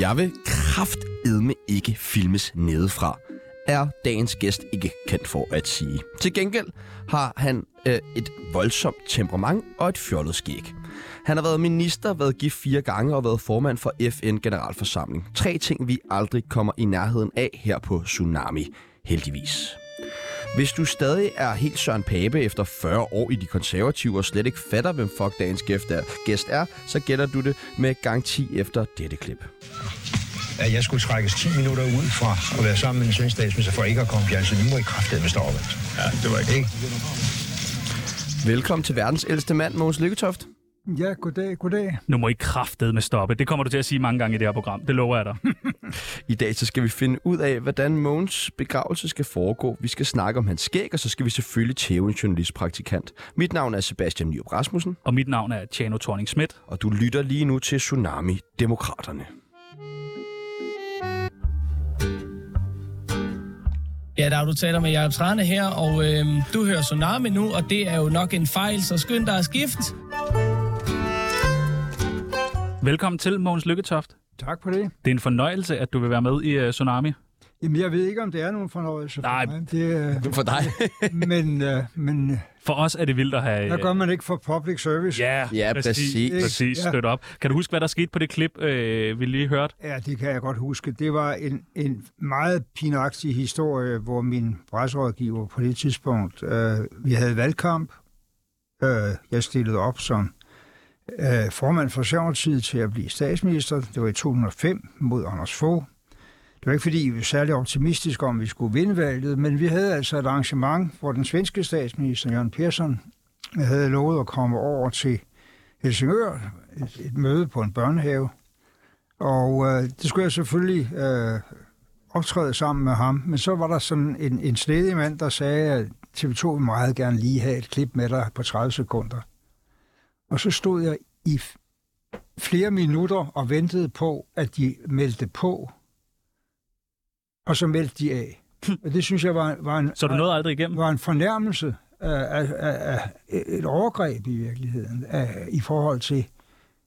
Jeg vil kraftedme ikke filmes nedefra, er dagens gæst ikke kendt for at sige. Til gengæld har han øh, et voldsomt temperament og et fjollet skæg. Han har været minister, været gift fire gange og været formand for FN-generalforsamling. Tre ting, vi aldrig kommer i nærheden af her på Tsunami, heldigvis. Hvis du stadig er helt Søren Pape efter 40 år i de konservative og slet ikke fatter, hvem fuck dagens gæst er, gæst er så gætter du det med garanti efter dette klip. at jeg skulle trækkes 10 minutter ud fra at være sammen med en svensk statsminister for ikke at komme fjern, så nu må I kraftedeme stoppe. Ja, det var ikke. Velkommen til verdens ældste mand, Mogens Lykketoft. Ja, goddag, goddag. Nu må I kraftedme med stoppe. Det kommer du til at sige mange gange i det her program. Det lover jeg dig. I dag så skal vi finde ud af, hvordan Mogens begravelse skal foregå. Vi skal snakke om hans skæg, og så skal vi selvfølgelig tæve en journalistpraktikant. Mit navn er Sebastian Nyrup Rasmussen, Og mit navn er Tjano thorning Schmidt. og du lytter lige nu til Tsunami Demokraterne. Ja, der er du taler med Jacob Trane her, og øh, du hører Tsunami nu, og det er jo nok en fejl, så skynd dig at skifte. Velkommen til, Mogens Lykketoft. Tak for det. Det er en fornøjelse, at du vil være med i uh, Tsunami. Jamen, jeg ved ikke, om det er nogen fornøjelse for Nej. mig. Det, øh, For dig? men, øh, men For os er det vildt at have... øh, der gør man ikke for public service. Ja, Ja, præcis. Præcis, Ja. støt op. Kan du huske, hvad der skete på det klip, øh, vi lige hørte? Ja, det kan jeg godt huske. Det var en, en meget pinagtig historie, hvor min presserådgiver på det tidspunkt, øh, vi havde valgkamp. Øh, jeg stillede op som øh, formand for Sjævnetid til at blive statsminister. Det var i 2005 mod Anders Fogh. Det var ikke fordi, vi var særlig optimistiske om, at vi skulle vinde valget, men vi havde altså et arrangement, hvor den svenske statsminister, Jørgen Persson, havde lovet at komme over til Helsingør, et, et møde på en børnehave, og øh, det skulle jeg selvfølgelig øh, optræde sammen med ham. Men så var der sådan en, en snedig mand, der sagde, at TV2 vil meget gerne lige have et klip med dig på 30 sekunder. Og så stod jeg i f- flere minutter og ventede på, at de meldte på. Og så meldte de af. Og det synes jeg var, var en... Så du nåede aldrig igennem? var en fornærmelse af, af, af, af et overgreb i virkeligheden af, i forhold til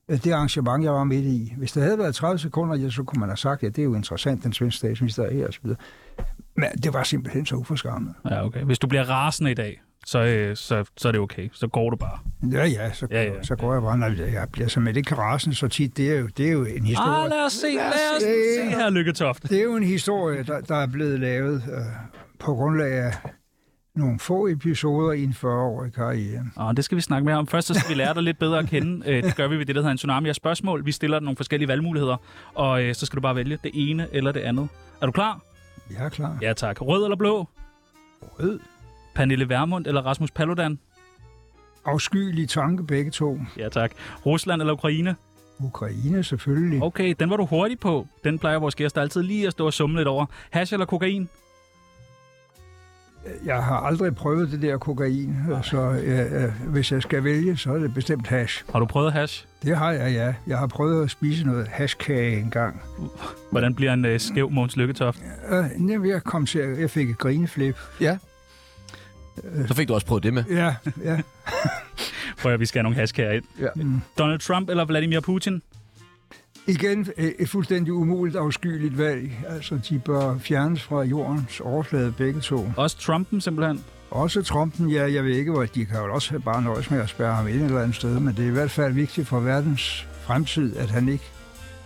øh, det arrangement, jeg var midt i. Hvis det havde været 30 sekunder, ja, så kunne man have sagt, at det er jo interessant, den svenske statsminister er her osv. Men det var simpelthen så uforskammet. Ja, okay. Hvis du bliver rasende i dag, så, øh, så, så er det okay. Så går du bare. Ja, ja, så, Ja, ja, ja. ja. så går jeg bare, nej, jeg bliver simpelthen ikke rasende så tit. Det er jo, det er jo en historie. Ah, lad os se, lad os se. se her, Lykketoft. Det er jo en historie, der, der er blevet lavet øh, på grundlag af nogle få episoder i en 40-årig karriere. Og det skal vi snakke mere om. Først så skal vi lære dig lidt bedre at kende. Øh, Det gør vi ved det, der hedder en tsunami af spørgsmål. Vi stiller dig nogle forskellige valgmuligheder, og øh, så skal du bare vælge det ene eller det andet. Er du klar? Jeg er klar. Ja tak. Rød eller blå? Rød. Pernille Vermund eller Rasmus Paludan? Afskyelig tanke begge to. Ja tak. Rusland eller Ukraine? Ukraine selvfølgelig. Oh. Okay, den var du hurtig på. Den plejer vores gæster altid lige at stå og summe lidt over. Hash eller kokain? Jeg har aldrig prøvet det der kokain, så øh, øh, hvis jeg skal vælge, så er det bestemt hash. Har du prøvet hash? Det har jeg, ja. Jeg har prøvet at spise noget hashkage engang. Hvordan bliver en øh, skæv Måns Lykketoft? Øh, jamen, jeg, kom til, at- jeg fik et grineflip. Ja. Så fik du også prøvet det med. Ja, ja. Prøv at vi skal have nogle hash ind. Ja. Donald Trump eller Vladimir Putin? Igen øh, et fuldstændig umuligt afskyeligt valg. Altså, de bør fjernes fra jordens overflade begge to. Også Trumpen simpelthen? Også Trumpen, ja, jeg ved ikke, hvor de kan jo også bare nøjes med at spærre ham ind et eller andet sted, men det er i hvert fald vigtigt for verdens fremtid, at han ikke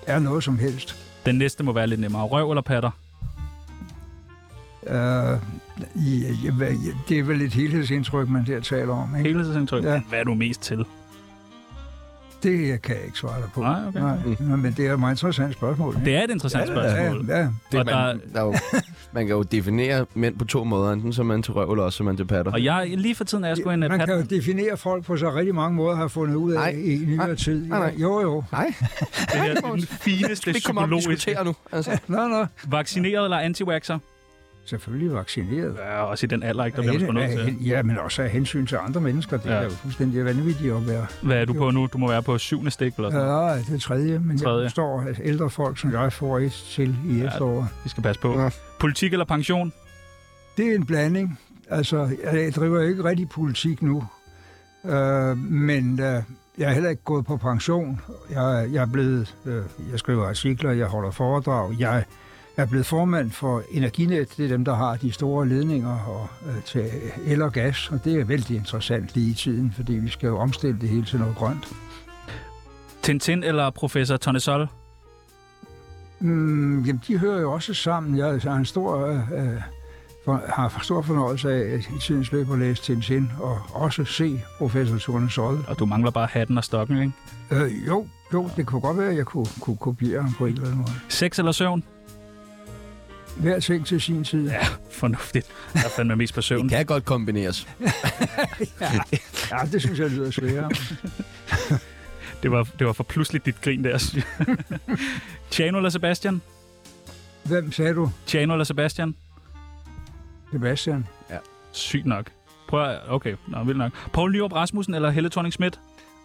er noget som helst. Den næste må være lidt nemmere. Røv eller patter? Øh, ja, ja, hvad- ja, det er vel et helhedsindtryk, man der taler om. Ikke? Helhedsindtryk? Ja. Ja. Hvad er du mest til? Det kan jeg ikke svare dig på. Nej, okay. Mm. Nej, men det er et meget interessant spørgsmål. Ikke? Det er et interessant ja, spørgsmål. Ja, Ja, ja. Det, man, Og der- der... er jo, man kan jo definere mænd på to måder. Enten så er man til røv, eller også så er man til patter. Og jeg, lige for tiden er jeg sgu en øh, Man pat... kan jo definere folk på så rigtig mange måder, har jeg fundet ud af Nej. i nyere Nej. tid. Nej, nej. Ja, jo, jo. Nej, Det her er den fineste vi kommer op og psykologiske. diskuterer nu. Altså. Nå, nå. Vaccineret eller anti-vaxxer? Selvfølgelig vaccineret. Ja, også i den alder, ikke? Der bliver man sgu nødt Af- til. af- Ja, men også af hensyn til andre mennesker. Det Ja. ja. er jo fuldstændig vanvittigt at være. Hvad er du på nu? Du må være på syvende stik eller sådan noget. Ja, det er tredje, men Tredje. jeg forstår, at ældre folk som jeg får et til i Ja. efteråret. Vi skal passe på. Ja. Politik eller pension? Det er en blanding. Altså, jeg driver ikke rigtig politik nu, øh, men øh, jeg er heller ikke gået på pension. Jeg, jeg er blevet, øh, jeg skriver artikler, jeg holder foredrag. Jeg er blevet formand for Energinet. Det er dem, der har de store ledninger og, øh, til el og gas, og det er vældig interessant lige i tiden, fordi vi skal jo omstille det hele til noget grønt. Tintin eller professor Tournesol? Mm, jamen, de hører jo også sammen. Jeg altså, har en stor, øh, øh, for, har stor fornøjelse af at i tidens løb at læse Tintin, og også se professor Torne Sol. Og du mangler bare hatten og stokken, ikke? Øh, jo, jo, det kunne godt være, at jeg kunne, kunne kopiere ham på en eller anden måde. Sex eller søvn? Hver ting til sin tid. Ja, Fornuftigt. Jeg fandt mig mest på søvn. Det kan godt kombineres. ja det synes jeg lyder sværere. Det var, det var for pludseligt dit grin der. synes jeg. Tjano eller Sebastian? Hvem sagde du? Tjano eller Sebastian? Sebastian? Sygt nok. Prøv at... Okay, nå, vildt nok. Poul Nyrup Rasmussen eller Helle thorning Schmidt?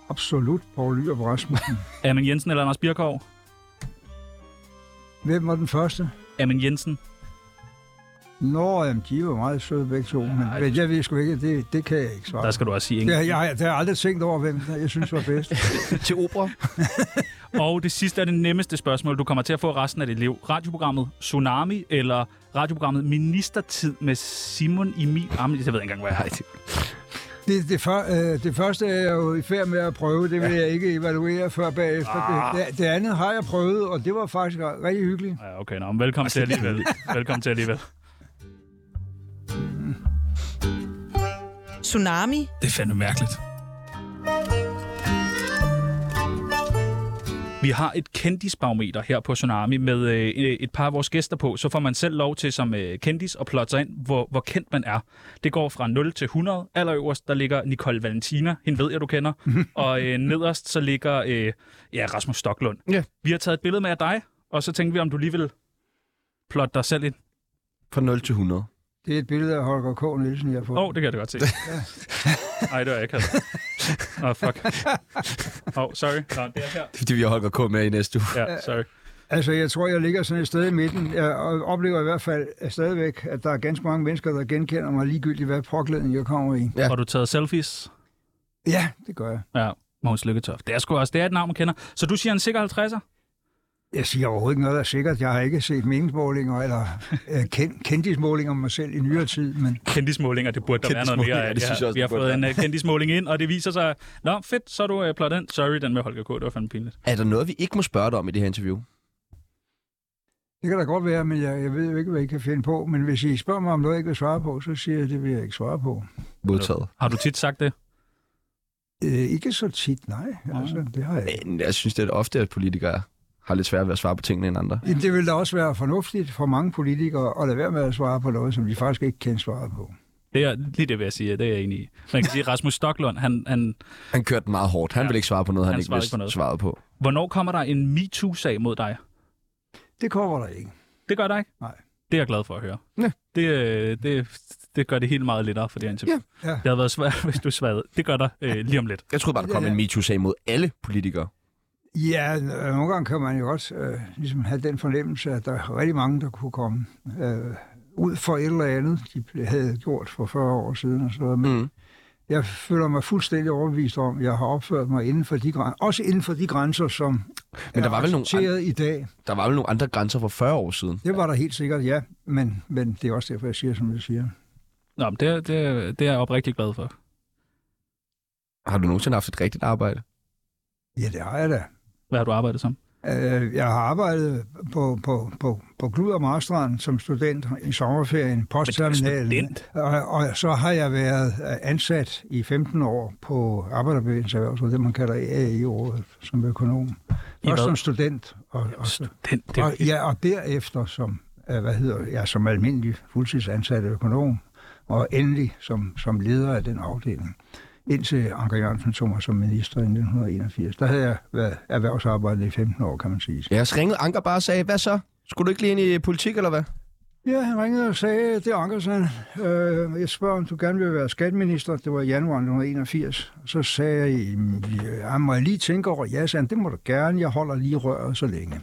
Absolut Poul Lyrup Rasmussen. Amin Jensen eller Anders Birkov? Hvem var den første? Amin Jensen. Nå, jamen, de var meget søde begge to, men, Ej. men jeg ved sgu ikke, det, det kan jeg ikke svare. Der skal du også sige det, ingen. har- jeg, har- det har jeg aldrig tænkt over, hvem jeg synes var bedst. til opera. Og det sidste er det nemmeste spørgsmål, du kommer til at få resten af dit liv. Radioprogrammet Tsunami eller radioprogrammet Ministertid med Simon Emil Amelie. Jeg ved ikke engang, hvad jeg har. Det, det, for, øh, det første er jeg jo i færd med at prøve, det vil jeg ikke evaluere før bagefter. Det, det, det andet har jeg prøvet, og det var faktisk rigtig hyggeligt. Ja, okay, nå, men velkommen til alligevel. Velkommen til alligevel. Tsunami Det er fandme mærkeligt. Vi har et kendisbarometer her på Tsunami med øh, et par af vores gæster på. Så får man selv lov til som øh, kendis at plotte sig ind, hvor, hvor kendt man er. Det går fra 0 til 100. Allerøverst, der ligger Nicole Valentina. Hende ved jeg, du kender. og øh, nederst, så ligger øh, ja, Rasmus Stoklund. Ja. Vi har taget et billede med af dig, og så tænkte vi, om du lige vil plotte dig selv ind. Fra 0 til 100. Det er et billede af Holger K. Nielsen, jeg har fået. Åh, oh, det kan jeg da godt se. Nej, det var jeg ikke. Åh, oh, fuck. Åh, oh, sorry. Nå, det er her. Det er fordi, vi har Holger K. med i næste uge. Ja, sorry. Altså, jeg tror, jeg ligger sådan et sted i midten. Jeg oplever i hvert fald at stadigvæk, at der er ganske mange mennesker, der genkender mig ligegyldigt, hvad påklædning jeg kommer i. Ja. Har du taget selfies? Ja, det gør jeg. Ja, Måns Lykketoft. Det er sgu også, det er et navn, man kender. Så du siger en sikker 50'er? Jeg siger overhovedet ikke noget, der er sikkert. Jeg har ikke set meningsmålinger eller øh, kend- kendtismålinger om mig selv i nyere tid, men Kendismålinger, det burde der være noget Kendismålinger, mere af. det Ja, synes jeg også, vi har det burde fået en være. øh, kendismåling ind, og det viser sig... Nå, fedt, så er du øh, plot ind. Sorry, den med Holger K. Det var fandme pinligt. Er der noget, vi ikke må spørge dig om i det her interview? det kan da godt være, men jeg, jeg ved jo ikke, hvad I kan finde på. Men hvis I spørger mig om noget, jeg ikke vil svare på, så siger jeg, det vil jeg ikke svare på. Modtaget. Har du tit sagt det? Øh, ikke så tit, nej. Altså, det har jeg ikke. Men jeg synes, det er ofte, at politikere har lidt svært ved at svare på tingene end andre. Jamen, Det ville da også være fornuftigt for mange politikere at lade være med at svare på noget, som de faktisk ikke kan svare på. Det er lige det, vil jeg sige. Det er jeg enig i. Man kan sige, Rasmus Stoklund, han, han, Han kørte den meget hårdt. Han Ja. ja. ville ikke svare på noget, han, Han han ikke svarede ikke vidste på noget. svaret på. hvornår kommer der en MeToo-sag mod dig? Det kommer der ikke. Det gør der ikke? Nej. Det er jeg glad for at høre. Ja. Det, øh, det, det gør det helt meget lettere for det her interview. Ja. Ja. Det havde været svært, hvis du sværede. Det gør der øh, lige om lidt. Jeg troede bare, der kom Ja, ja, ja. ja. en MeToo-sag mod alle politikere. Ja, øh, nogle gange kan man jo godt øh, ligesom have den fornemmelse, at der er rigtig mange, der kunne komme øh, ud for et eller andet, de ble- havde gjort for 40 år siden. Og sådan noget. Men Mm. jeg føler mig fuldstændig overbevist om, at jeg har opført mig inden for de grænser, også inden for de grænser, som Men der er var vel nogle accepteret i dag. Der var vel nogle andre grænser for 40 år siden. Det var der helt sikkert, ja. Men, men det er også derfor, jeg siger, som jeg siger. Nå, men det, det, det er jeg oprigtig glad for. Har du nogensinde haft et rigtigt arbejde? Ja, det har jeg da. Hvad har du arbejdet som? Øh, Jeg har arbejdet på, på, på, på Glud og Marstrand som student i sommerferien, postterminalen. student? Og, og så har jeg været øh, ansat i 15 år på Arbejderbevægelsens Erhvervsråd, det man kalder AE-rådet, som økonom. Først som student, og, og, Den, det, og, ja, og derefter som, øh, hvad hedder, ja, som almindelig fuldtidsansat økonom, og endelig som, som leder af den afdeling. Indtil Anker Jørgensen tog mig som minister i 1981. Der havde jeg været erhvervsarbejder i 15 år, kan man sige. Jeg har ringet Anker bare og sagde, hvad så? Skulle du ikke lige ind i politik, eller hvad? Ja, han ringede og sagde, det er Ankersen. Øh, jeg spørger, om du gerne vil være skatteminister. Det var i januar 1981. Så sagde jeg, "Jamen, ja, må jeg lige tænke over, ja, sagde han, det må du gerne. Jeg holder lige røret så længe.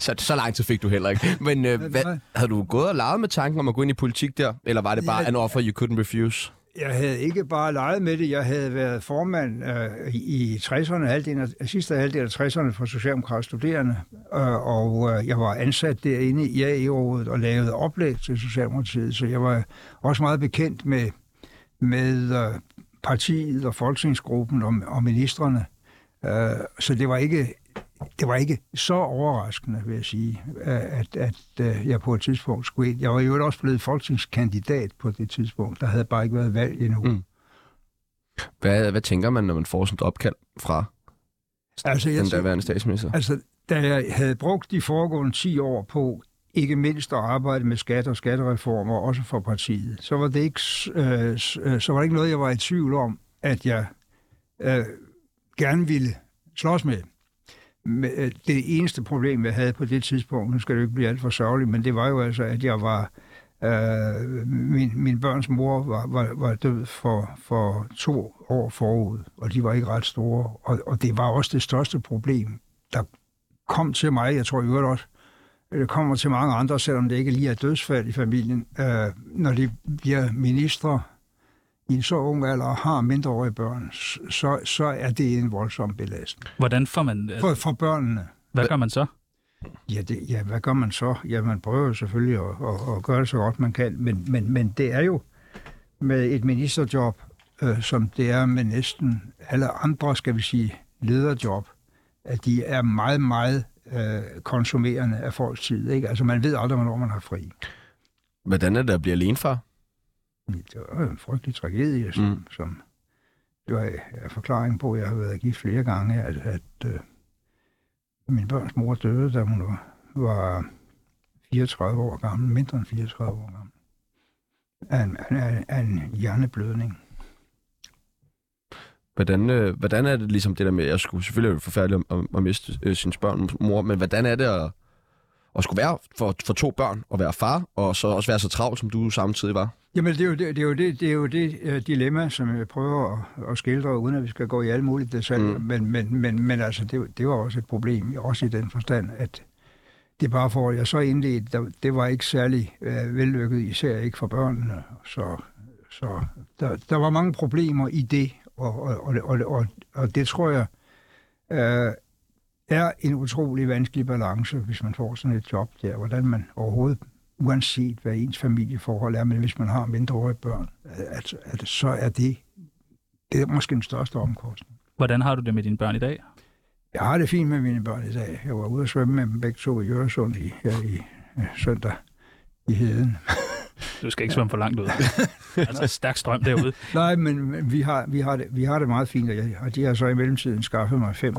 Så, så lang tid fik du heller ikke. Men øh, hvad, nej. havde du gået og leget med tanken om at gå ind i politik der? Eller var det bare Ja. an offer you couldn't refuse? jeg havde ikke bare leget med det, jeg havde været formand øh, i i 60'erne, halvdelen af, øh, sidste halvdel af 60'erne for Socialdemokratiske Studerende, øh, og øh, jeg var ansat derinde i AE-rådet og lavede oplæg til Socialdemokratiet, så jeg var også meget bekendt med, med øh, partiet og folketingsgruppen og, og ministerne. Øh, så det var ikke det var ikke så overraskende, vil jeg sige, at, at øh, jeg på et tidspunkt skulle ind. Jeg var jo også blevet folketingskandidat på det tidspunkt. Der havde bare ikke været valg endnu. Mm. Mm. Hvad, hvad tænker man, når man får sådan et opkald fra Altså, jeg den tænker- daværende statsminister? Altså, da jeg havde brugt de foregående 10 år på ikke mindst at arbejde med skat og skattereformer, også for partiet, så var det ikke, s- øh, s- øh, så var det ikke noget, jeg var i tvivl om, at jeg øh, gerne ville slås med. Men, øh, Det eneste problem, jeg havde på det tidspunkt, nu skal det jo ikke blive alt for sørgeligt, men det var jo altså, at jeg var... Øh, min, min børns mor var, var, var død for, for to år forud, og de var ikke ret store. Og, og det var også det største problem, kom til mig, jeg tror i øvrigt også, øh, det kommer til mange andre, selvom det ikke lige er dødsfald i familien, øh, når de bliver ministre i en så ung alder og har mindreårige børn, s- så, så er det en voldsom belastning. Hvordan får man... øh, For, for børnene, Hvad gør man så? ja, det, ja, hvad gør man så? Ja, man prøver jo selvfølgelig at, at, at gøre det så godt man kan, men, men, men det er jo med et ministerjob, øh, som det er med næsten alle andre, skal vi sige, lederjob, at de er meget, meget øh, konsumerende af folks tid. Ikke? Altså man ved aldrig, hvornår man har fri. Hvordan er det at blive alenefar? Det var jo en frygtelig tragedie, som, Mm. mm. som jo er, er forklaring på, at jeg har været gift flere gange, at, at øh, min børns mor døde, da hun var, var 34 år gammel, mindre end 34 år gammel, af en, af, en- af en hjerneblødning. Hvordan, øh, hvordan er det ligesom det der med, jeg skulle selvfølgelig er det forfærdeligt at, at, at miste øh, sin børn mor, men hvordan er det at, at skulle være for, for to børn og være far, og så også være så travl, som du samtidig var? Jamen, det er jo det, det, er jo det, det, er jo det øh, dilemma, som jeg prøver at, at skildre, uden at vi skal gå i alle mulige detaljer. Mm. Mm. Men, men, men, men altså, det, det var også et problem, også i den forstand, at det bare for, jeg så indledte, der, det var ikke særlig øh, vellykket, især ikke for børnene. Så, så der, der var mange problemer i det, og, og, og, og, og, og det tror jeg øh, er en utrolig vanskelig balance, hvis man får sådan et job der, hvordan man overhovedet uanset hvad ens familieforhold er, men hvis man har mindreårige børn, at, at, så er det, det er måske den største omkostning. Hvordan har du det med dine børn i dag? Jeg har det fint med mine børn i dag. Jeg var ude at svømme med dem begge to i Øresund i, her i øh, søndag i heden. Du skal ikke svømme for langt ud. altså, stærk strøm derude. Nej, men, men vi, har, vi, har det, vi har det meget fint, og, jeg, og de har så i mellemtiden skaffet mig fem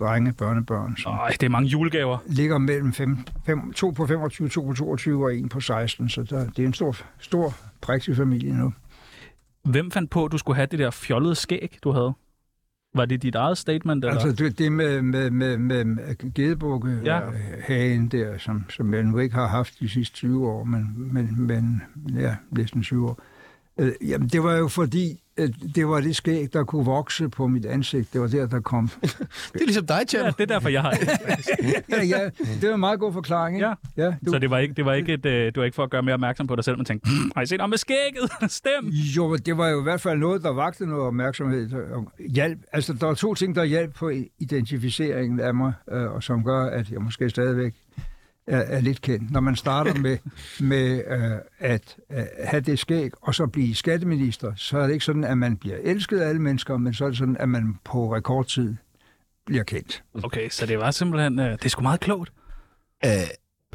drenge, børnebørn, som Øj, det er mange julegaver. ligger mellem fem, fem, to på 25, to på 22 og en på 16, så der, det er en stor, stor prægtig familie nu. Hvem fandt på, at du skulle have det der fjollede skæg, du havde? Var det dit eget statement? Eller? Altså det, det med, med, med, med, med gedebukkehagen Ja. ja. der, som, som jeg nu ikke har haft de sidste 20 år, men, men, men ja, næsten 20 år. Øh, jamen, det var jo fordi, at det var det skæg, der kunne vokse på mit ansigt. Det var der, der kom. Det er ligesom dig, Tjern. ja, det er derfor, jeg har det. Ja, ja, det var en meget god forklaring, ikke? Ja. ja du, Så det var ikke, det var ikke, et, øh, det var ikke for at gøre mere opmærksom på dig selv, men tænkte, "Hmm, har I set ham med skægget? Stem! Jo, det var jo i hvert fald noget, der vagte noget opmærksomhed. og Hjælp. Altså, der er to ting, der hjalp på identificeringen af mig, øh, og som gør, at jeg måske stadigvæk er, er lidt kendt. Når man starter med, med øh, at øh, have det skæg, og så blive skatteminister, så er det ikke sådan, at man bliver elsket af alle mennesker, men så er det sådan, at man på rekordtid bliver kendt. Okay, så det var simpelthen, øh, det er sgu meget klogt. Øh,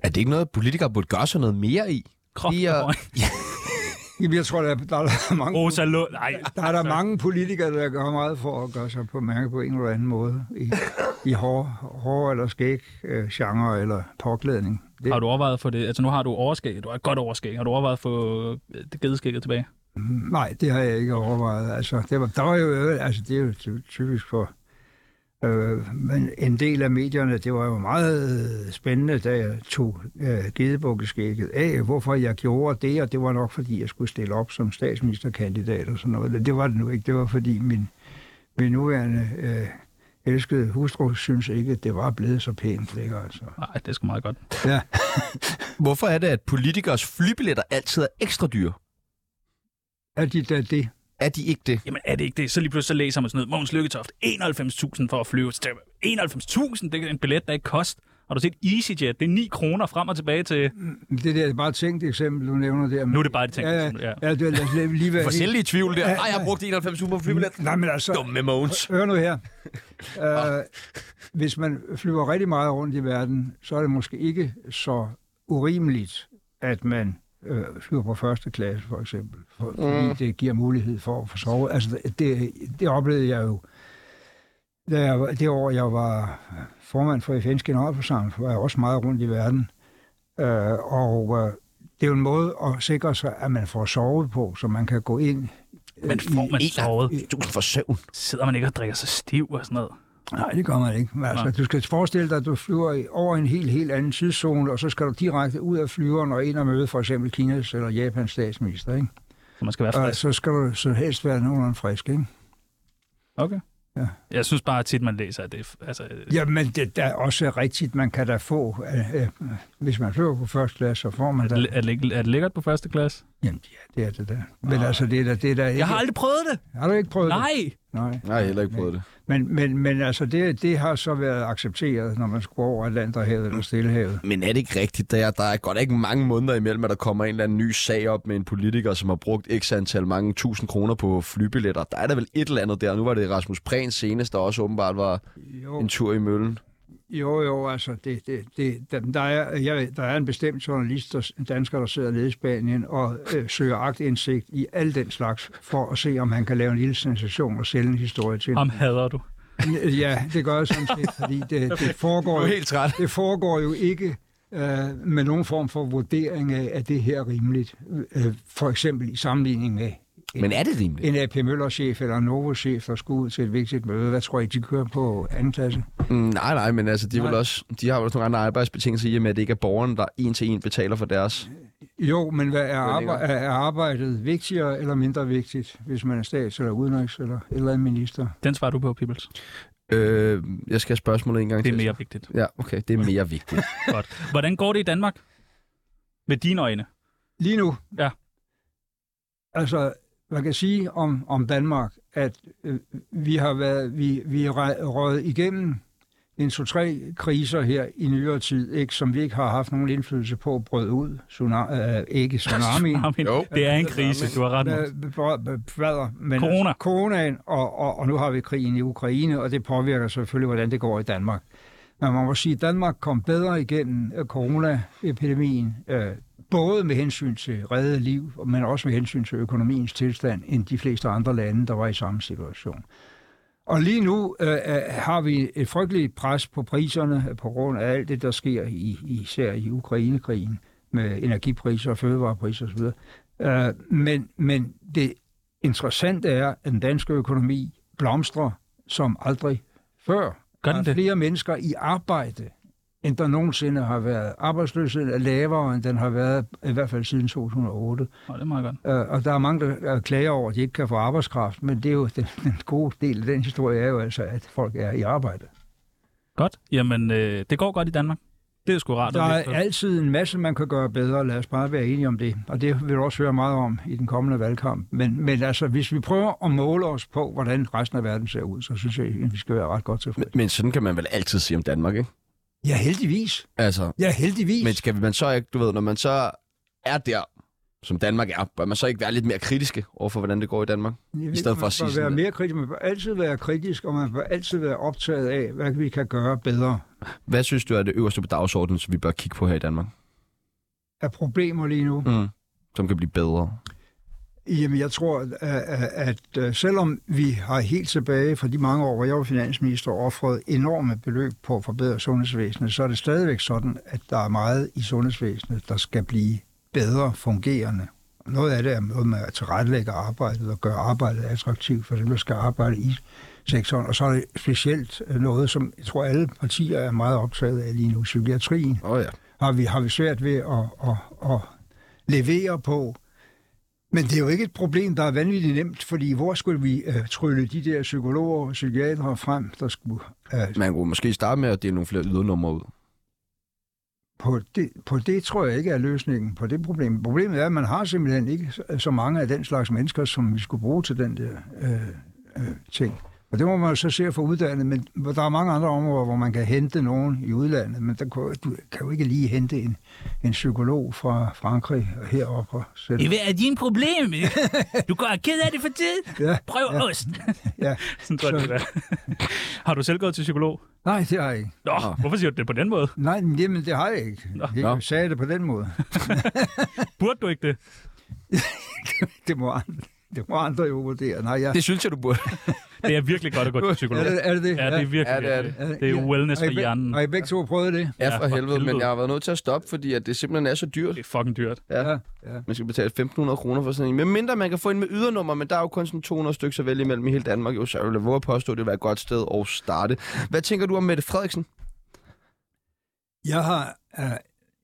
er det ikke noget, politikere burde gøre sig noget mere i? Krop, Lige at- Jamen, Jeg tror, der er, der er mange Rosa Lund, nej. Der er der mange politikere, der gør meget for at gøre sig på mærke på en eller anden måde i, i hår, hår eller skæg, øh, genre eller påklædning. Det, Har du overvejet for det? Altså nu har du overskæg, du har et godt overskæg. Har du overvejet for det gedeskægget tilbage? Nej, det har jeg ikke overvejet. Altså, det var, der var jo, altså, det er jo ty- typisk for øh, men en del af medierne, det var jo meget spændende, da jeg tog øh, gedebukkeskægget af, hvorfor jeg gjorde det, og det var nok, fordi jeg skulle stille op som statsministerkandidat og sådan noget. Det var det nu ikke, det var fordi min, min nuværende øh, elskede hustru synes ikke, at det var blevet så pænt længere. Altså. Nej, det er sgu meget godt. Ja. Hvorfor er det, at politikers flybilletter altid er ekstra dyre? Er de da det? Er de ikke det? Jamen er det ikke det? Så lige pludselig så læser man sådan noget. Mogens Lykketoft, 91.000 for at flyve. til- 91.000, det er en billet, der ikke koster. Har du set EasyJet? Det er 9 kroner frem og tilbage til... Det der er bare et tænkt eksempel, du nævner der. Nu er det bare et tænkt ja, eksempel, ja. ja. ja det er lad os lige- lige være For selv i tvivl der. Ja, Ej, jeg har brugt 91 super flybillet. Nej, men altså, Dumme Mogens. hør nu her. Øh, hvis man flyver rigtig meget rundt i verden, så er det måske ikke så urimeligt, at man øh, flyver på første klasse, for eksempel. Mm. For, Fordi det giver mulighed for at få sovet. Altså, det, det oplevede jeg jo. Da jeg, var- det år, jeg var formand for FN's generalforsamling, var jeg også meget rundt i verden. Øh, og øh, det er jo en måde at sikre sig, at man får sovet på, så man kan gå ind øh, Men får man sovet? 91.000 for søvn. Sidder man ikke og drikker sig stiv og sådan noget? Nej, det gør man ikke. Men altså, Nej. du skal forestille dig, at du flyver i- over en helt, helt anden tidszone, og så skal du direkte ud af flyveren og ind og møde for eksempel Kinas eller Japans statsminister. Ikke? Så man skal være Og frisk. så skal du så helst være nogenlunde frisk. Ikke? Okay. Ja. Jeg synes bare tit, man læser, at det er- altså, ja. Jamen, det der er også rigtigt, man kan da få, øh, øh, hvis man flyver på første klasse, så får man da... er, det, er det lækkert på første klasse. Jamen, ja, det er det der. Men altså, det er da... Det er da ikke... Jeg har aldrig prøvet det! har du ikke prøvet Nej! det? Nej. Nej, jeg har heller ikke prøvet det. Men, men, men altså, det, det har så været accepteret, når man skulle over Atlanterhavet eller Stillehavet. Men er det ikke rigtigt? Der, der er godt ikke mange måneder imellem, at der kommer en eller anden ny sag op med en politiker, som har brugt x antal mange tusind kroner på flybilletter. Der er der vel et eller andet der. Nu var det Rasmus Prehn senest, der også åbenbart var Jo. en tur i møllen. Jo, jo, altså, det, det, det, der, der, er, jeg, der er en bestemt journalist, der, en dansker, der sidder nede i Spanien og øh, søger agtindsigt i al den slags, for at se, om han kan lave en lille sensation og sælge en historie til. Ham hader du. Ja, det gør jeg sådan set, fordi det, det, foregår, jo- træt. det foregår jo ikke øh, med nogen form for vurdering af, at det her er rimeligt. Øh, for eksempel i sammenligning med Men er det rimeligt? en AP Møller-chef eller en Novo-chef, der skulle ud til et vigtigt møde. Hvad tror I, de kører på anden klasse? Mm, nej, nej, men altså, de, er vel Nej. også, de har vel også nogle andre arbejdsbetingelser i, og med, at det ikke er borgeren, der en til en betaler for deres. Jo, men hvad Hvad er, ligger- arbejde, er arbejdet vigtigere eller mindre vigtigt, hvis man er stats- eller udenrigs- eller et eller en minister? Den svarer du på, Pibbles. Øh, jeg skal have spørgsmålet en gang Det er til. mere vigtigt. Ja, okay, det er mere vigtigt. Godt. Hvordan går det i Danmark? Med dine øjne. Lige nu, Ja. altså, man kan sige om, om Danmark, at øh, vi har været, vi, vi er re- røget igennem en to-tre kriser her i nyere tid, ikke, som vi ikke har haft nogen indflydelse på, brød ud, tsunami, øh, ikke tsunamien, Armin, Jo. det er en krise, du har ret Øh, med. b- b- Fader, men Corona. Altså, coronaen, og, og, og nu har vi krigen i Ukraine, og det påvirker selvfølgelig, hvordan det går i Danmark. Men man må sige, at Danmark kom bedre igennem øh, coronaepidemien, øh, både med hensyn til reddet liv, men også med hensyn til økonomiens tilstand, end de fleste andre lande, der var i samme situation. Og lige nu øh, øh, har vi et frygteligt pres på priserne øh, på grund af alt det, der sker i, især i Ukrainekrigen med energipriser og fødevarepriser osv. Øh, men, men det interessante er, at den danske økonomi blomstrer som aldrig før. Gør Der den er det? flere mennesker i arbejde, end der nogensinde har været. Arbejdsløsheden er lavere, end den har været i hvert fald siden 2008. Nå, det er meget godt. Øh, og der er mange, der øh, klager over, at de ikke kan få arbejdskraft, men det er jo den, den gode del af den historie, er jo altså, at folk er i arbejde. Godt. Jamen, øh, det går godt i Danmark. Det er sgu rart. Der at er vide. altid en masse, man kan gøre bedre, lad os bare være enige om det. Og det vil du også høre meget om i den kommende valgkamp. Men, men altså, hvis vi prøver at måle os på, hvordan resten af verden ser ud, så synes jeg, at vi skal være ret godt men, tilfredse. men sådan kan man vel altid sige om Danmark, ikke? Ja, heldigvis. Altså, Ja, heldigvis. Men skal man så ikke, du ved, når man så er der, som Danmark er, bør man så ikke være lidt mere kritiske overfor, hvordan det går i Danmark? Jeg I ved stedet ikke, for at sige man bør sådan være lidt. mere kritisk. Man bør altid være kritisk, og man bør altid være optaget af, hvad vi kan gøre bedre. Hvad synes du er det øverste på dagsordenen, som vi bør kigge på her i Danmark? Er problemer lige nu? Mm. Som kan blive bedre. Jamen, jeg tror, at, at, at øh, selvom vi har helt tilbage fra de mange år, hvor jeg var finansminister, offret enorme beløb på at forbedre sundhedsvæsenet, så er det stadigvæk sådan, at der er meget i sundhedsvæsenet, der skal blive bedre fungerende. Noget af det er noget med at tilrettelægge arbejdet og gøre arbejdet attraktivt for dem, der skal arbejde i sektoren. Og så er det specielt øh, noget, som jeg tror, alle partier er meget optaget af lige nu, psykiatrien Åh oh, ja. har vi, har vi svært ved at, at, at levere på. Men det er jo ikke et problem, der er vanvittigt nemt, fordi hvor skulle vi øh, trylle de der psykologer og psykiatere frem, der skulle... Øh, Man kunne måske starte med at dele nogle flere ydernumre ud. På det, på det tror jeg ikke er løsningen på det problem. Problemet er, at man har simpelthen ikke så- så mange af den slags mennesker, som vi skulle bruge til den der øh, øh, ting. Og det må man jo så se at få uddannet, men hvor der er mange andre områder, hvor man kan hente nogen i udlandet, men der kan, du kan jo ikke lige hente en, en psykolog fra Frankrig og heroppe og sætte Det er din problem. Du går og ked af det for tid. Ja, Prøv ost. Ja. Sådan tror jeg, det er. Har du selv gået til psykolog? Nej, det har jeg ikke. Nå, hvorfor siger du det på den måde? Nej, men jamen, det har jeg ikke. Nå. Jeg sagde det på den måde. Burde du ikke det? Det må andre, det må andre jo vurdere. Nej, jeg, Det synes jeg, du burde. Det er virkelig godt at gå til psykolog. er, det, er det det? Ja, det er virkelig. Ja, det er det. virkelig. Det er wellness Har for I beg- hjernen. Har I begge to prøvet det? Ja, Ja, for for helvede, men helvede. jeg har været nødt til at stoppe, fordi at det simpelthen er så dyrt. Det er fucking dyrt. Ja. ja. Man skal betale 1.500 kroner for sådan en. Men mindre man kan få en med ydernummer, men der er jo kun sådan 200 stykker at vælge imellem i hele Danmark. Jo, så jeg vil våge at påstå, at det vil være et godt sted at starte. Hvad tænker du om Mette Frederiksen? Jeg har uh,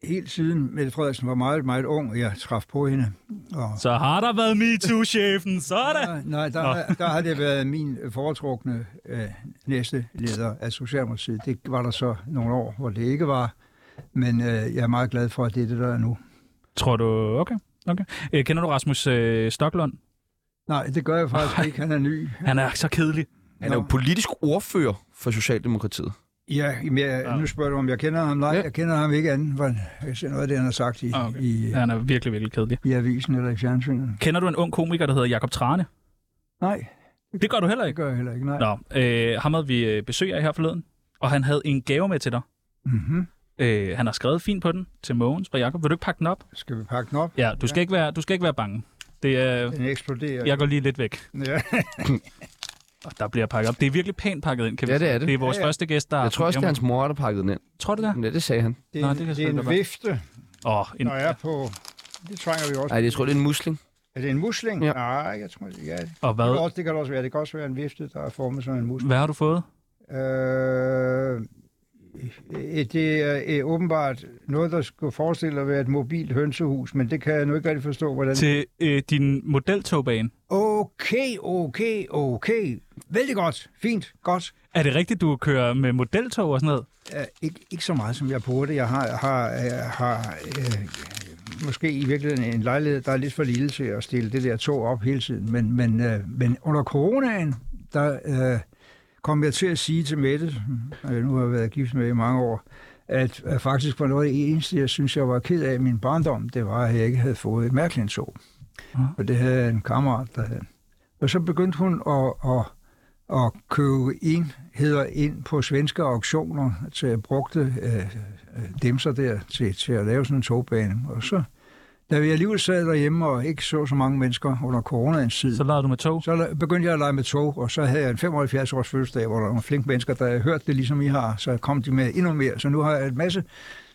helt siden Mette Frederiksen var meget, meget ung, og jeg traf på hende. Og, Så har der været MeToo-chefen, så er det. nej, nej, der, Nå. har- der har det været min foretrukne øh, næste leder af Socialdemokratiet. Det var der så nogle år, hvor det ikke var. Men øh, jeg er meget glad for, at det er det, der er nu. Tror du... Okay. Okay. Øh, kender du Rasmus øh, Stoklund? Nej, det gør jeg faktisk ikke. Han er ny. Han er så kedelig. Han er jo Nå. politisk ordfører for Socialdemokratiet. Ja, jamen, jeg, nu spørger du, om jeg kender ham. Nej, Ja. jeg kender ham ikke andet, for jeg ser noget af det, han har sagt i, Ah, okay. okay. i, Han er virkelig, virkelig kedelig. i avisen eller i fjernsynet. Kender du en ung komiker, der hedder Jakob Trane? Nej, Det gør du heller det ikke. gør jeg heller ikke. Nej. Nå, øh, ham havde vi øh, besøg af her forleden, og han havde en gave med til dig. Mm-hmm. Øh, han har skrevet fint på den til Mogens fra Jakob. Vil du ikke pakke den op? Skal vi pakke den op? Ja, du skal, ikke, være, du skal ikke være bange. Det er, Den eksploderer. jeg går lige lidt væk, Ja. og der bliver pakket op. Det er virkelig pænt pakket ind, kan vi Ja, det sige. er det. Det er vores Ja, ja. første gæst, der... Jeg tror også, det er hans mor, der pakkede den ind. Tror du det? Ja, det sagde han. Det Nå, er, det kan en, det er selvfølgelig en godt være. vifte, Åh, oh, en... når jeg er på... Det trænger vi også. Nej, jeg tror, det er en musling. Er det en musling? Ja. Nej, jeg tror ikke. Ja. Det, Og kan hvad, også, det kan også være. Det kan også være en vifte, der er formet som en musling. hvad har du fået? Øh, øh, det er øh, åbenbart noget, der skulle forestille at være et mobilt hønsehus, men det kan jeg nu ikke rigtig forstå, hvordan... Til øh, din modeltogbane. Okay, okay, okay. Vældig godt. Fint. Godt. Er det rigtigt, du kører med modeltog og sådan noget? Uh, ikke, ikke så meget, som jeg burde. Jeg har, har, uh, har uh, måske i virkeligheden en lejlighed, der er lidt for lille til at stille det der tog op hele tiden. Men, men, uh, men under coronaen, der uh, kom jeg til at sige til Mette, som jeg nu har været gift med i mange år, at uh, faktisk var noget af det eneste, jeg synes, jeg var ked af i min barndom, det var, at jeg ikke havde fået et Mærklin-tog. Og det havde jeg en kammerat, der havde. Og så begyndte hun at, at at købe enheder ind på svenske auktioner til at brugte øh, øh, demser der til, til at lave sådan en togbane. Og så, da vi alligevel sad derhjemme og ikke så så mange mennesker under coronaens tid, Så lader du med tog? så la- begyndte jeg at lege med tog, og så havde jeg en 75-års fødselsdag, hvor der var nogle flinke mennesker, der havde hørt det, ligesom I har, så kom de med endnu mere. Så nu har jeg en masse,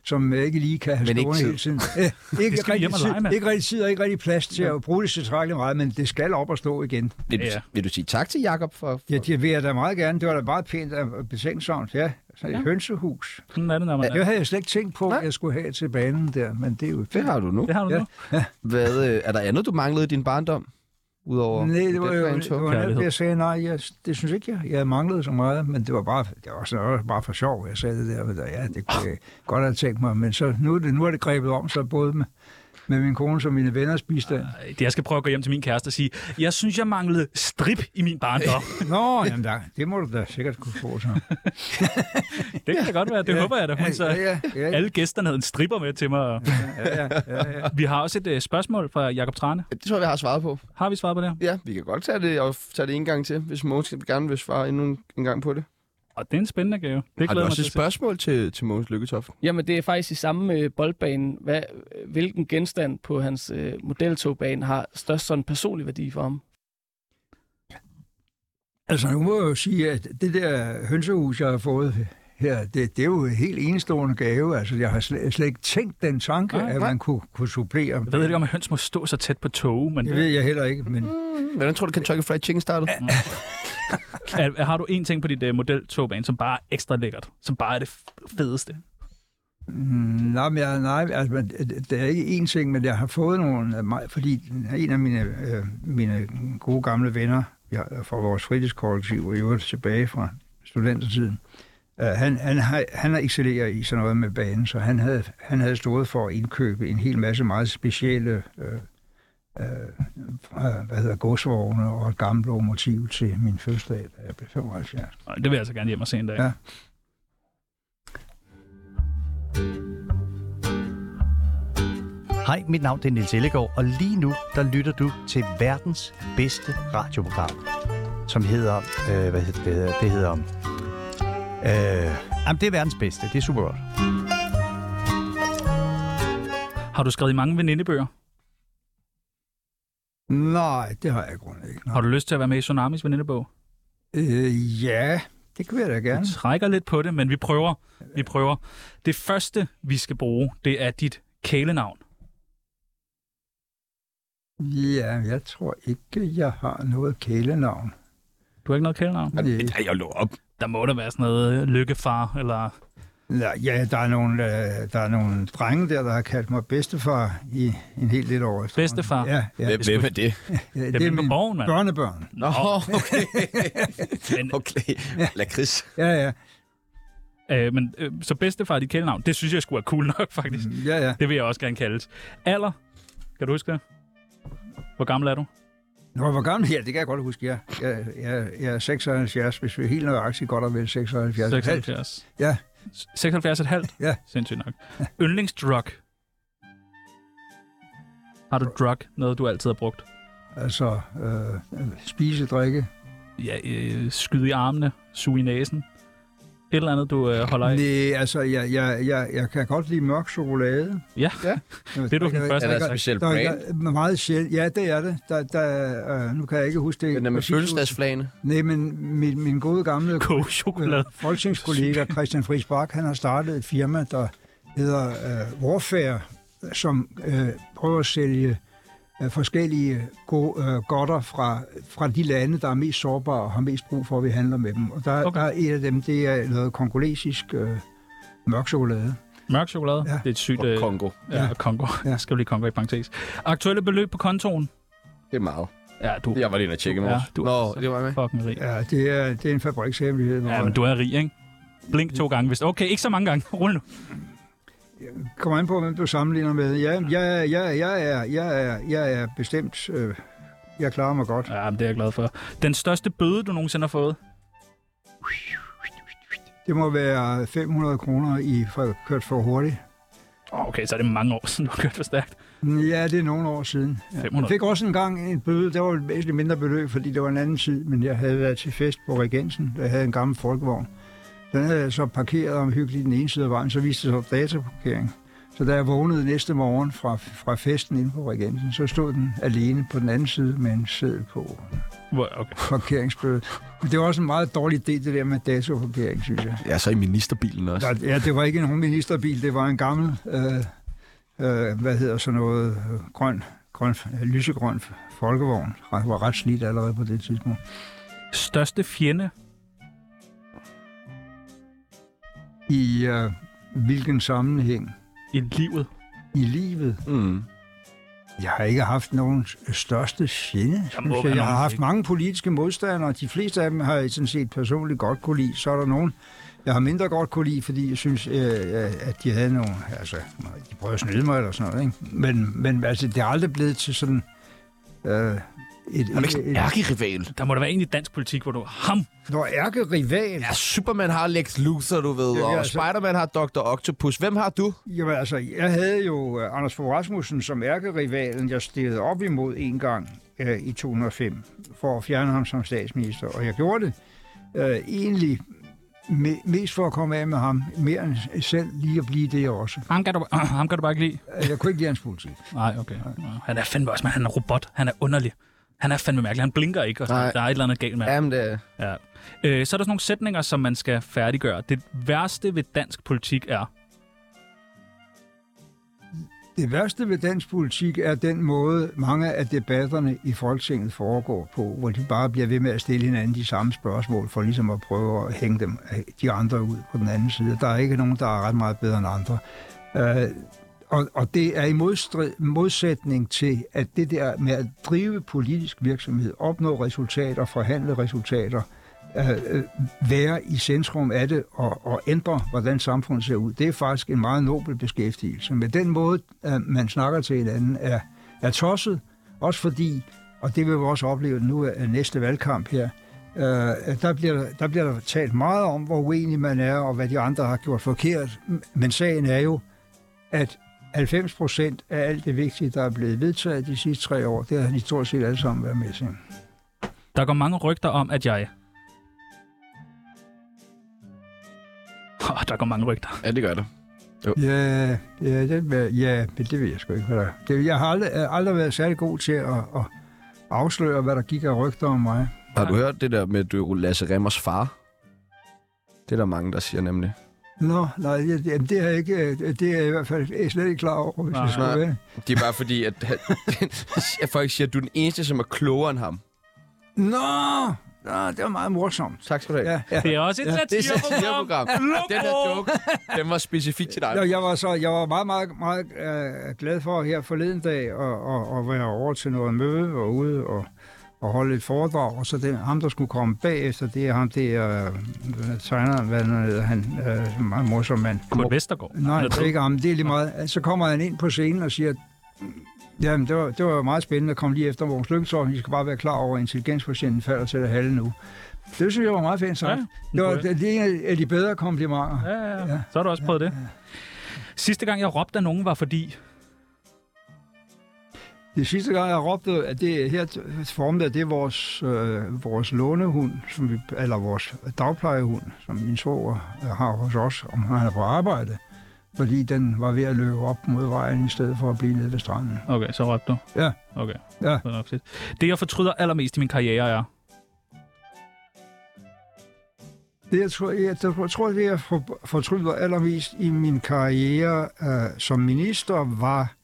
som jeg ikke lige kan have Men ikke stående tid. hele tiden. Æ, ikke, skal vi hjem og rigtig lege med. tid, ikke rigtig tid og ikke rigtig plads til at bruge det tilstrækkeligt meget, men det skal op og stå igen. Vil, Ja. du, vil du sige tak til Jakob for... for... Ja, det vil jeg da meget gerne. Det var da meget pænt og betænksomt, ja. Så et ja. hønsehus. Sådan er det, når man er. Det havde jeg slet ikke tænkt på, Nej. at jeg skulle have til banen der, men det er jo Det fedt. har du nu. Det har du Ja. nu. Hvad, øh, er der andet, du manglede i din barndom? Udover Nej, det var jo modelbanen, det tog? var Kærlighed. netop, det, jeg sagde, nej, jeg, det synes ikke, jeg, jeg manglede så meget, men det var bare, det var også, det var bare for sjov, jeg sagde det der, men ja, det kunne jeg godt have tænkt mig, men så, nu, er det, nu er det grebet om, så både med, med min kone og mine venners bistand. Ej, Jeg skal prøve at gå hjem til min kæreste og sige, jeg synes, jeg manglede strip i min barndom. Nå, jamen da, det må du da sikkert kunne få så. Det kan da godt være. Det håber jeg da. Hun så ja, ja, ja, alle gæsterne havde en stripper med til mig. og- ja, ja, ja. Vi har også et øh, spørgsmål fra Jakob Trane. Det tror jeg, vi har svaret på. Har vi svaret på det? her? Ja, vi kan godt tage det, og tage det en gang til, hvis Mogens gerne vil svare endnu en- en gang på det. Og det er en spændende gave. Det Har du glæder jeg mig også til. et at se. spørgsmål til, til Mogens Lykketoft? Jamen, det er faktisk i samme øh, boldbane. Hvad, øh, hvilken genstand på hans øh, modeltogbane har størst sådan personlig værdi for ham? Altså, nu må jeg jo sige, at det der hønsehus, jeg har fået her, det, det er jo en helt enestående gave. Altså, jeg har slet, slet ikke tænkt den tanke, Nej, nej, at nej. man kunne, kunne supplere. Jeg ved Mm. ikke, om at høns må stå så tæt på tog, men Det ved jeg heller ikke, men Mm, Hvordan tror du, Kentucky Fried Chicken startede? er, har du en ting på dit uh, modeltogbane, som bare er ekstra lækkert? Som bare er det f- fedeste? Mm, Nej, men jeg, nej, altså, men det- det er ikke én ting, men jeg har fået nogle af mig, fordi en af mine, øh, mine gode øh, gamle venner jeg, fra vores fritidskollektiv, og i øvrigt tilbage fra studentertiden, Øh, han, han, har- han har excelleret i sådan noget med banen, så han havde, han havde stået for at indkøbe en hel masse meget specielle øh, øh, hvad hedder, godsvogne og et gammelt lokomotiv til min fødselsdag, da jeg blev 75. Ej, Det vil jeg altså gerne hjem og se en dag. Ja. Hej, mit navn det er Nils Ellegaard, og lige nu der lytter du til verdens bedste radioprogram, som hedder, øh, hvad hedder det, hedder, det hedder, øh, jamen det er verdens bedste, det er super godt. Har du skrevet i mange venindebøger? Nej, det har jeg grund ikke. Har du lyst til at være med i Tsunamis venindebog? Øh, ja, det kan jeg da gerne. Vi trækker lidt på det, men vi prøver. Vi prøver. Det første, vi skal bruge, det er dit kælenavn. Ja, jeg tror ikke, jeg har noget kælenavn. Du har ikke noget kælenavn? Øh, Ja, jeg lå op. Der må der være sådan noget øh, lykkefar, eller... Nå, Ja, der er, nogle, øh, der er nogle drenge der, der har kaldt mig bedstefar i en helt lidt år efter. Bedstefar? Ja, ja. Hvem, hvem er det? ja det, Det er min borgen, mand. børnebørn. Nå, okay. Men, okay. Lakrids. Ja, ja. øh, men øh, så bedstefar er dit kælenavn. Det synes jeg skulle være cool nok, faktisk. Ja, ja. Det vil jeg også gerne kaldes. Alder? Kan du huske det? Hvor gammel er du? Nå, hvor gammel? Ja, det kan jeg godt huske, ja. Jeg, jeg, jeg er 76, hvis vi er helt nøjagtigt godt og vel 76. 76. Ja. 76 et halvt? Ja. Sindssygt nok. Yndlingsdrug? Har du drug? Noget, du altid har brugt? Altså, øh, spise, drikke. Ja, øh, skyde i armene, suge i næsen. Et eller andet, du øh, holder af. Nej, altså, jeg, jeg, jeg, jeg kan godt lide mørk chokolade. Ja. ja. Jamen, Det er du den Er første, der der et har sagt. specielt Der, brand? der, meget sjældent. Ja, det er det. Der, der, øh, nu kan jeg ikke huske det. Den er med præcis. fødselsdagsflagene. Nej, men min, min gode gamle Koge chokolade. øh, folketingskollega Christian Friis Bak, han har startet et firma, der hedder øh, Warfare, som øh, prøver at sælge øh, forskellige go- øh, godter fra, fra de lande, der er mest sårbare og har mest brug for, at vi handler med dem. Og der, Okay. okay. der er et af dem, det er noget kongolesisk øh, mørk chokolade. Mørk chokolade. Ja. Ja. Det er et sygt... Og Øh, Kongo. ja, Ja. Kongo. Ja. Ja. Skal lige Kongo i parentes. Aktuelle beløb på kontoen? Det er meget. Ja, du... Jeg var lige inde og tjekke i morges. Ja, du- Nå, det var jeg med. Fucking rig. Ja, det er, det er en fabrikshemmelighed. hvor- Ja, men du er rig, ikke? Blink to gange, hvis... Okay, ikke så mange gange. Rul nu. Kommer an på, hvem du sammenligner med. Ja, jeg, jeg, jeg, jeg, er, jeg, er, jeg er bestemt... Øh, jeg klarer mig godt. Ja, men det er jeg glad for. Den største bøde, du nogensinde har fået? Det må være 500 kroner i for, kørt for hurtigt. Åh, Okay, så er det mange år siden, du har kørt for stærkt. Ja, det er nogle år siden. Ja. 500. Jeg fik også en gang en bøde. Det var et væsentligt mindre beløb, fordi det var en anden tid, men jeg havde været til fest på Regensen, der havde en gammel folkevogn. Den havde jeg så parkeret omhyggeligt den ene side af vejen, så viste det sig dataparkering. Så da jeg vågnede næste morgen fra, fra festen inde på Regensen, så stod den alene på den anden side med en seddel på. Hvor- Okay. Parkeringsbøde. Men det var også en meget dårlig idé, det der med dataparkering, synes jeg. Ja, så i ministerbilen også. Der, ja, det var ikke nogen ministerbil, det var en gammel, øh, øh, hvad hedder sådan noget, øh, grøn, grøn, øh, lysegrøn folkevogn. Ret- var ret slidt allerede på det tidspunkt. Største fjende? I øh, hvilken sammenhæng i livet. i livet? Mm. Jeg har ikke haft nogen største fjende. må synes Jeg, være jeg. jeg har nogen, haft ikke? mange politiske modstandere. De fleste af dem har jeg sådan set personligt godt kunne lide. Så er der nogen, jeg har mindre godt kunne lide, fordi jeg synes, øh, øh, at de havde nogle... Altså, de prøvede at snyde mig eller sådan noget, ikke? Men, men altså, det er aldrig blevet til sådan... Øh, et, Han er ikke sådan en et, ærkerival. Der må da være en i dansk politik, hvor du ham. når ærkerival... Ja, Superman har Lex Luthor, du ved, Ja, og ja, så- Spider-Man har Dr. Octopus. Hvem har du? Jamen altså, jeg havde jo øh, Anders Fogh Rasmussen som ærkerivalen, jeg stillede op imod en gang øh, i 2005, for at fjerne ham som statsminister, og jeg gjorde det øh, egentlig me- mest for at komme af med ham, mere end selv lige at blive det også. Ham kan du, ham kan du bare ikke lide. Øh, Jeg kunne ikke lide hans politik. Nej, okay. Han er fandme også, men han er robot. Han er underlig. Han er fandme mærkelig. Han blinker ikke, og sådan Nej. noget. der er et eller andet galt med ham. Jamen, det er... Ja. Øh, så er der sådan nogle sætninger, som man skal færdiggøre. Det værste ved dansk politik er... Det værste ved dansk politik er den måde, mange af debatterne i Folketinget foregår på, hvor de bare bliver ved med at stille hinanden de samme spørgsmål, for ligesom at prøve at hænge dem, øh, de andre ud på den anden side. Der er ikke nogen, der er ret meget bedre end andre. Øh, og, og det er i modstrid, modsætning til, at det der med at drive politisk virksomhed, opnå resultater, forhandle resultater, øh, øh, være i centrum af det og, og ændre, hvordan samfundet ser ud. Det er faktisk en meget nobel beskæftigelse. Men den måde, øh, man snakker til hinanden, er, er tosset, også fordi, og det vil vi også opleve nu af næste valgkamp her, øh, at der bliver, der- der bliver der talt meget om, hvor uenig man er, og hvad de andre har gjort forkert. Men sagen er jo, at 90 procent af alt det vigtige, der er blevet vedtaget de sidste tre år, det har de stort set alle sammen været med til. Der går mange rygter om, at jeg... Oh, der går mange rygter. Ja, det gør det. Ja, ja, det, ved- ja, men det ved jeg sgu ikke, hvad der er. det, Jeg har aldrig, jeg har aldrig været særlig god til at, at afsløre, hvad der gik af rygter om mig. Har du hørt det der med du, Lasse Remmers far? Det er der mange, der siger nemlig. Nå, nej, det, jamen, det, er jeg ikke, øh, det er jeg i hvert fald slet ikke klar over, hvis Nej. nej, jeg skulle Nej. være. Det er bare fordi, at, at folk siger, at du er den eneste, som er klogere end ham. Nå, nå, det var meget morsomt. Tak skal du have. Ja, ja. Det er også et Det er et satireprogram. program. Den her joke, den var specifik til dig. Nå, jeg var så jeg var meget, meget, meget øh, glad for her forleden dag at, at, at være over til noget møde og ude og, og holde et foredrag. Og så den, ham, der skulle komme bagefter, det er ham der øh, tegneren, hvad han hedder, han øh, meget morsom mand. Kurt Vestergaard. Nej, Han er det er død. ikke ham. Det er lige meget. Så kommer han ind på scenen og siger, jamen, det var, det var meget spændende at komme lige efter vores lykketår. I skal bare være klar over, at intelligenspatienten falder til det halve nu. Det synes jeg var meget fint sagt. Ja, Ja, det var det, det er en af de bedre komplimenter. Ja, ja, ja. Ja. Så har du også prøvet det. Sidste gang, jeg råbte af nogen, var fordi... Det sidste gang, jeg råbte, at det her formede, det er vores, øh, vores lånehund, som vi, eller vores dagplejehund, som min svoger øh, har hos os, om han er på arbejde. Fordi den var ved at løbe op mod vejen, i stedet for at blive nede ved stranden. Okay, så råbte du. Ja. Okay. Ja. Det, er nok fedt. det, jeg fortryder allermest i min karriere, er... Det, jeg tror, jeg, jeg tror, det, jeg for- fortryder allermest i min karriere øh, som minister, var,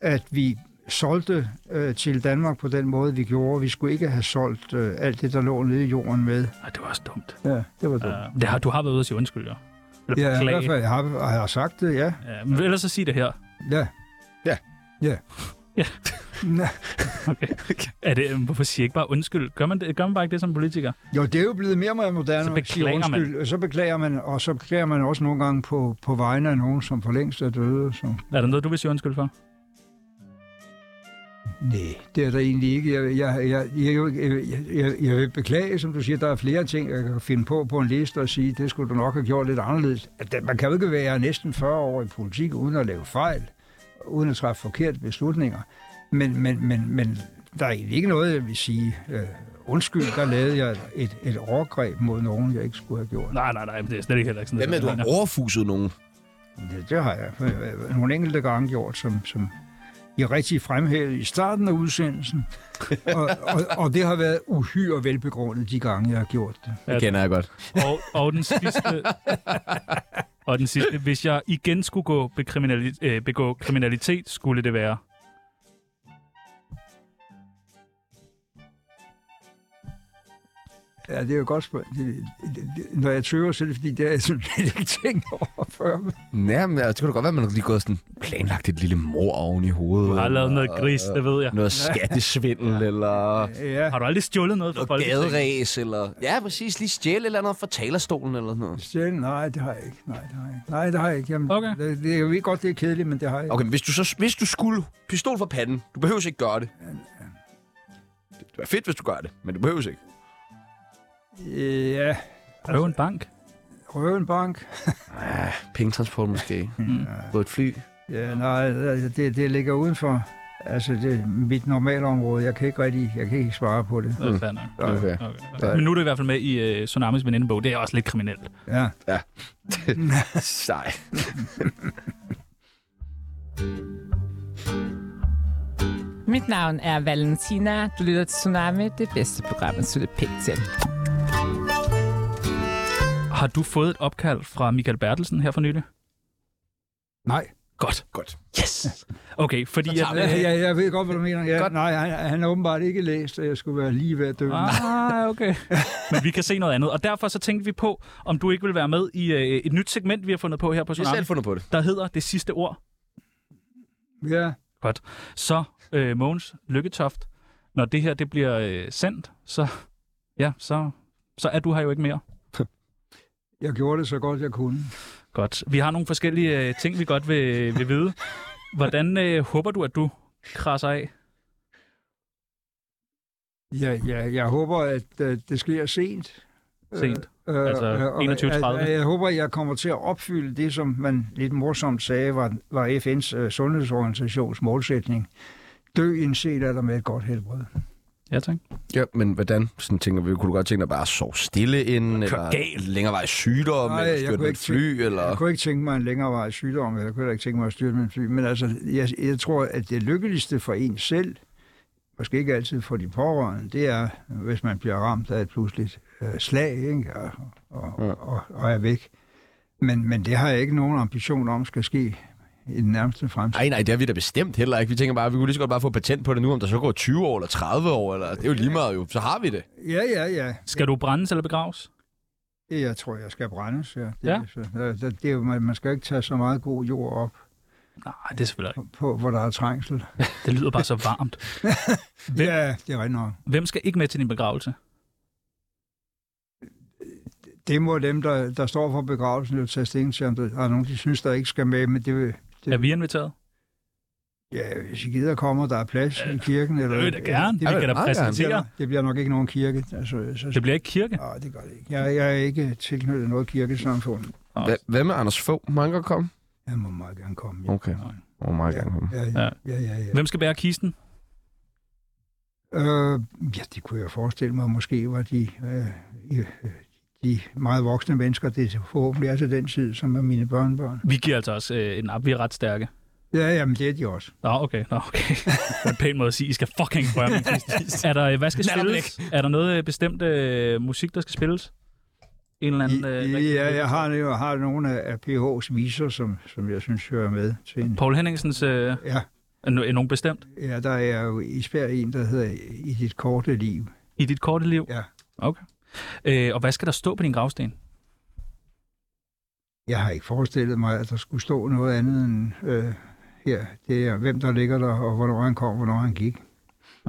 at vi solgte øh, til Danmark på den måde, vi gjorde. Vi skulle ikke have solgt øh, alt det, der lå nede i jorden med. Ej, det var også dumt. Ja, det var dumt. Uh, det har, du har været ude og sige undskyld, ja. Eller Ja, i beklage. hvert fald, jeg har, jeg har sagt det, ja. Ja, men ellers så sig det her. Ja. Ja. Ja. Ja. Nå, Er det, øh, hvorfor siger I ikke bare undskyld? Gør man, det, gør man bare ikke det som politiker? Jo, det er jo blevet mere og mere moderne. Så at sige beklager man. undskyld, og Så beklager man, og så beklager man også nogle gange på, på vegne af nogen, som for længst er døde. Så. Er der noget, du vil sige undskyld for? Nej, det er der egentlig ikke. Jeg, jeg, jeg, jeg, er jo ikke- jeg, jeg, jeg vil beklage, som du siger, der er flere ting, jeg kan finde på på en liste og sige, det skulle du nok have gjort lidt anderledes. At det- Man kan jo ikke være næsten 40 år i politik uden at lave fejl, uden at træffe forkerte beslutninger. Men, men, men, men der er egentlig ikke noget, jeg vil sige. Øh, undskyld, der lavede jeg et, et overgreb mod nogen, jeg ikke skulle have gjort. Nej, nej, nej, men det er slet ikke heller ikke sådan Hvad med, at du jeg har mener. overfuset nogen? Det, det har jeg øh, nogle enkelte gange gjort, som, som I rigtig fremhævede i starten af udsendelsen. og, og, og det har været uhyre velbegrundet de gange, jeg har gjort det. Det kender jeg godt. Og, og den sidste... og den sidste, hvis jeg igen skulle gå be- kriminali- øh, begå kriminalitet, skulle det være... Ja, det er jo et godt spørgsmål. Det, det, det, når jeg tøver, så er det fordi, det har jeg sådan lidt ikke tænkt over før. Ja, men altså, det kunne da godt være, at man lige gået sådan planlagt et lille mor oven i hovedet. Du har lavet noget gris, det ved jeg. Noget skattesvindel, eller Ja, Har du aldrig stjålet noget fra noget Folketinget? gaderæs, eller... Ja, præcis. Lige stjæle eller noget fra talerstolen, eller sådan noget. selv, nej, det har jeg ikke. Nej, det har jeg ikke. Nej, det har jeg ikke. Jamen, Okay. det, det, jeg ved godt, det er kedeligt, men det har jeg ikke. Okay, men hvis du, så, hvis du skulle pistol for panden, du behøver ikke gøre det. Det var fedt, hvis du gør det, men du behøver ikke. Okay. Øh, Ja, Røv en bank. røve en bank. Ah, Pengetransport måske. Mm. På et fly. Ja, nej, altså, det, det ligger udenfor. Altså, det er mit normale område. Jeg kan ikke rigtig, jeg kan ikke svare på det. Det er fair nok. Okay. Okay, okay. Men nu er du i hvert fald med i øh, Tsunamis venindebog. Det er også lidt kriminelt. Ja. Nej. Mit navn er Valentina. Du lytter til Tsunami, det bedste program, at slutte pænt til. Har du fået et opkald fra Michael Bertelsen her for nylig? Nej. Godt. Godt. Yes! Okay, fordi... tager at, øh, Ja, ja, jeg ved godt, hvad du mener. Ja, nej, han, han har åbenbart ikke læst, at jeg skulle være lige ved at dø. Ah. Ah, okay. Men vi kan se noget andet. Og derfor så tænkte vi på, om du ikke vil være med i øh, et nyt segment, vi har fundet på her på Jeg har Tsunami, selv fundet på det. der hedder Det Sidste Ord. Ja. Så øh, Mogens Lykketoft, når det her det bliver øh, sendt, så, ja, så, så er du her jo ikke mere. Jeg gjorde det så godt, jeg kunne. Godt. Vi har nogle forskellige øh, ting, vi godt vil, vil vide. Hvordan øh, håber du, at du krasser af? Ja, ja, jeg håber, at øh, det sker sent. Sent? Øh, øh, Altså øh, og 21.30? Jeg, jeg, jeg håber, jeg kommer til at opfylde det, som man lidt morsomt sagde, var, var FN's øh, sundhedsorganisations målsætning. Dø indset er der med et godt helbred. Ja, tak. Ja, men hvordan? Sådan tænker vi, kunne du godt tænke dig bare at sove stille inden, eller galt. længere vej sygdom, Nej, eller jeg styrte kunne med et ikke fly, eller... Jeg kunne ikke tænke mig en længere vej sygdom, eller jeg kunne heller ikke tænke mig at styre min fly, men altså, jeg, jeg tror, at det lykkeligste for en selv, måske ikke altid for de pårørende, det er, hvis man bliver ramt af et pludseligt øh, slag, ikke? Og, og, Ja. ja. og, og er væk. Men, men det har jeg ikke nogen ambition om, skal ske i den nærmeste fremtid. Nej, nej, det har vi da bestemt heller ikke. Vi tænker bare, at vi kunne lige så godt bare få patent på det nu, om der så går 20 år eller 30 år, eller det er jo lige meget jo. Så har vi det. Ja, ja, ja. Skal du brændes eller begraves? Jeg tror, jeg skal brændes, ja. Det, Ja. Så, det, det, er jo, man, man skal ikke tage så meget god jord op, Nej, det er selvfølgelig ikke. på, hvor der er trængsel. Det lyder bare så varmt. Hvem- Ja, det er rigtigt nok. Hvem skal ikke med til din begravelse? det må dem, der, der står for begravelsen, jo tage stilling til, om der er nogen, de synes, der ikke skal med, men det vil... Er vi inviteret? Ja, hvis I gider kommer, der er plads ja, i kirken. Eller, Det vil jeg da gerne. Det, Det, vi kan da meget gerne. det, bliver, præsentere. det bliver nok ikke nogen kirke. Altså, så, Det bliver ikke kirke. Nej, det gør det ikke. Jeg, jeg er ikke tilknyttet noget kirkesamfund. Hva- Hvad med Anders Fogh? Må han godt komme? Jeg må meget gerne komme. Ja, Okay. Hvor meget gerne komme. ja, ja. ja, ja, ja. Hvem skal bære kisten? Øh, ja, det kunne jeg forestille mig. Måske var de, øh, øh, de meget voksne mennesker, det er forhåbentlig er til den tid, som er mine børnebørn. Vi giver altså også øh, en op. Vi er ret stærke. Ja, jamen det er de også. Nå, okay. Nå, okay. Det er en pæn måde at sige, I skal fucking røre min kiste. Er der, øh, hvad skal spilles? Er der noget øh, bestemt øh, musik, der skal spilles? En eller anden... Øh, I, rigtig- ja, jeg har, jeg har nogle af PH's viser, som, som jeg synes hører med til en... Paul Henningsens... Øh, Ja, er no- er nogen bestemt? ja, der er jo især en, der hedder I dit korte liv. I dit korte liv? Ja. Okay. Øh, og hvad skal der stå på din gravsten? Jeg har ikke forestillet mig, at der skulle stå noget andet end øh, her. Det er, hvem der ligger der, og hvornår han kom, hvornår han gik.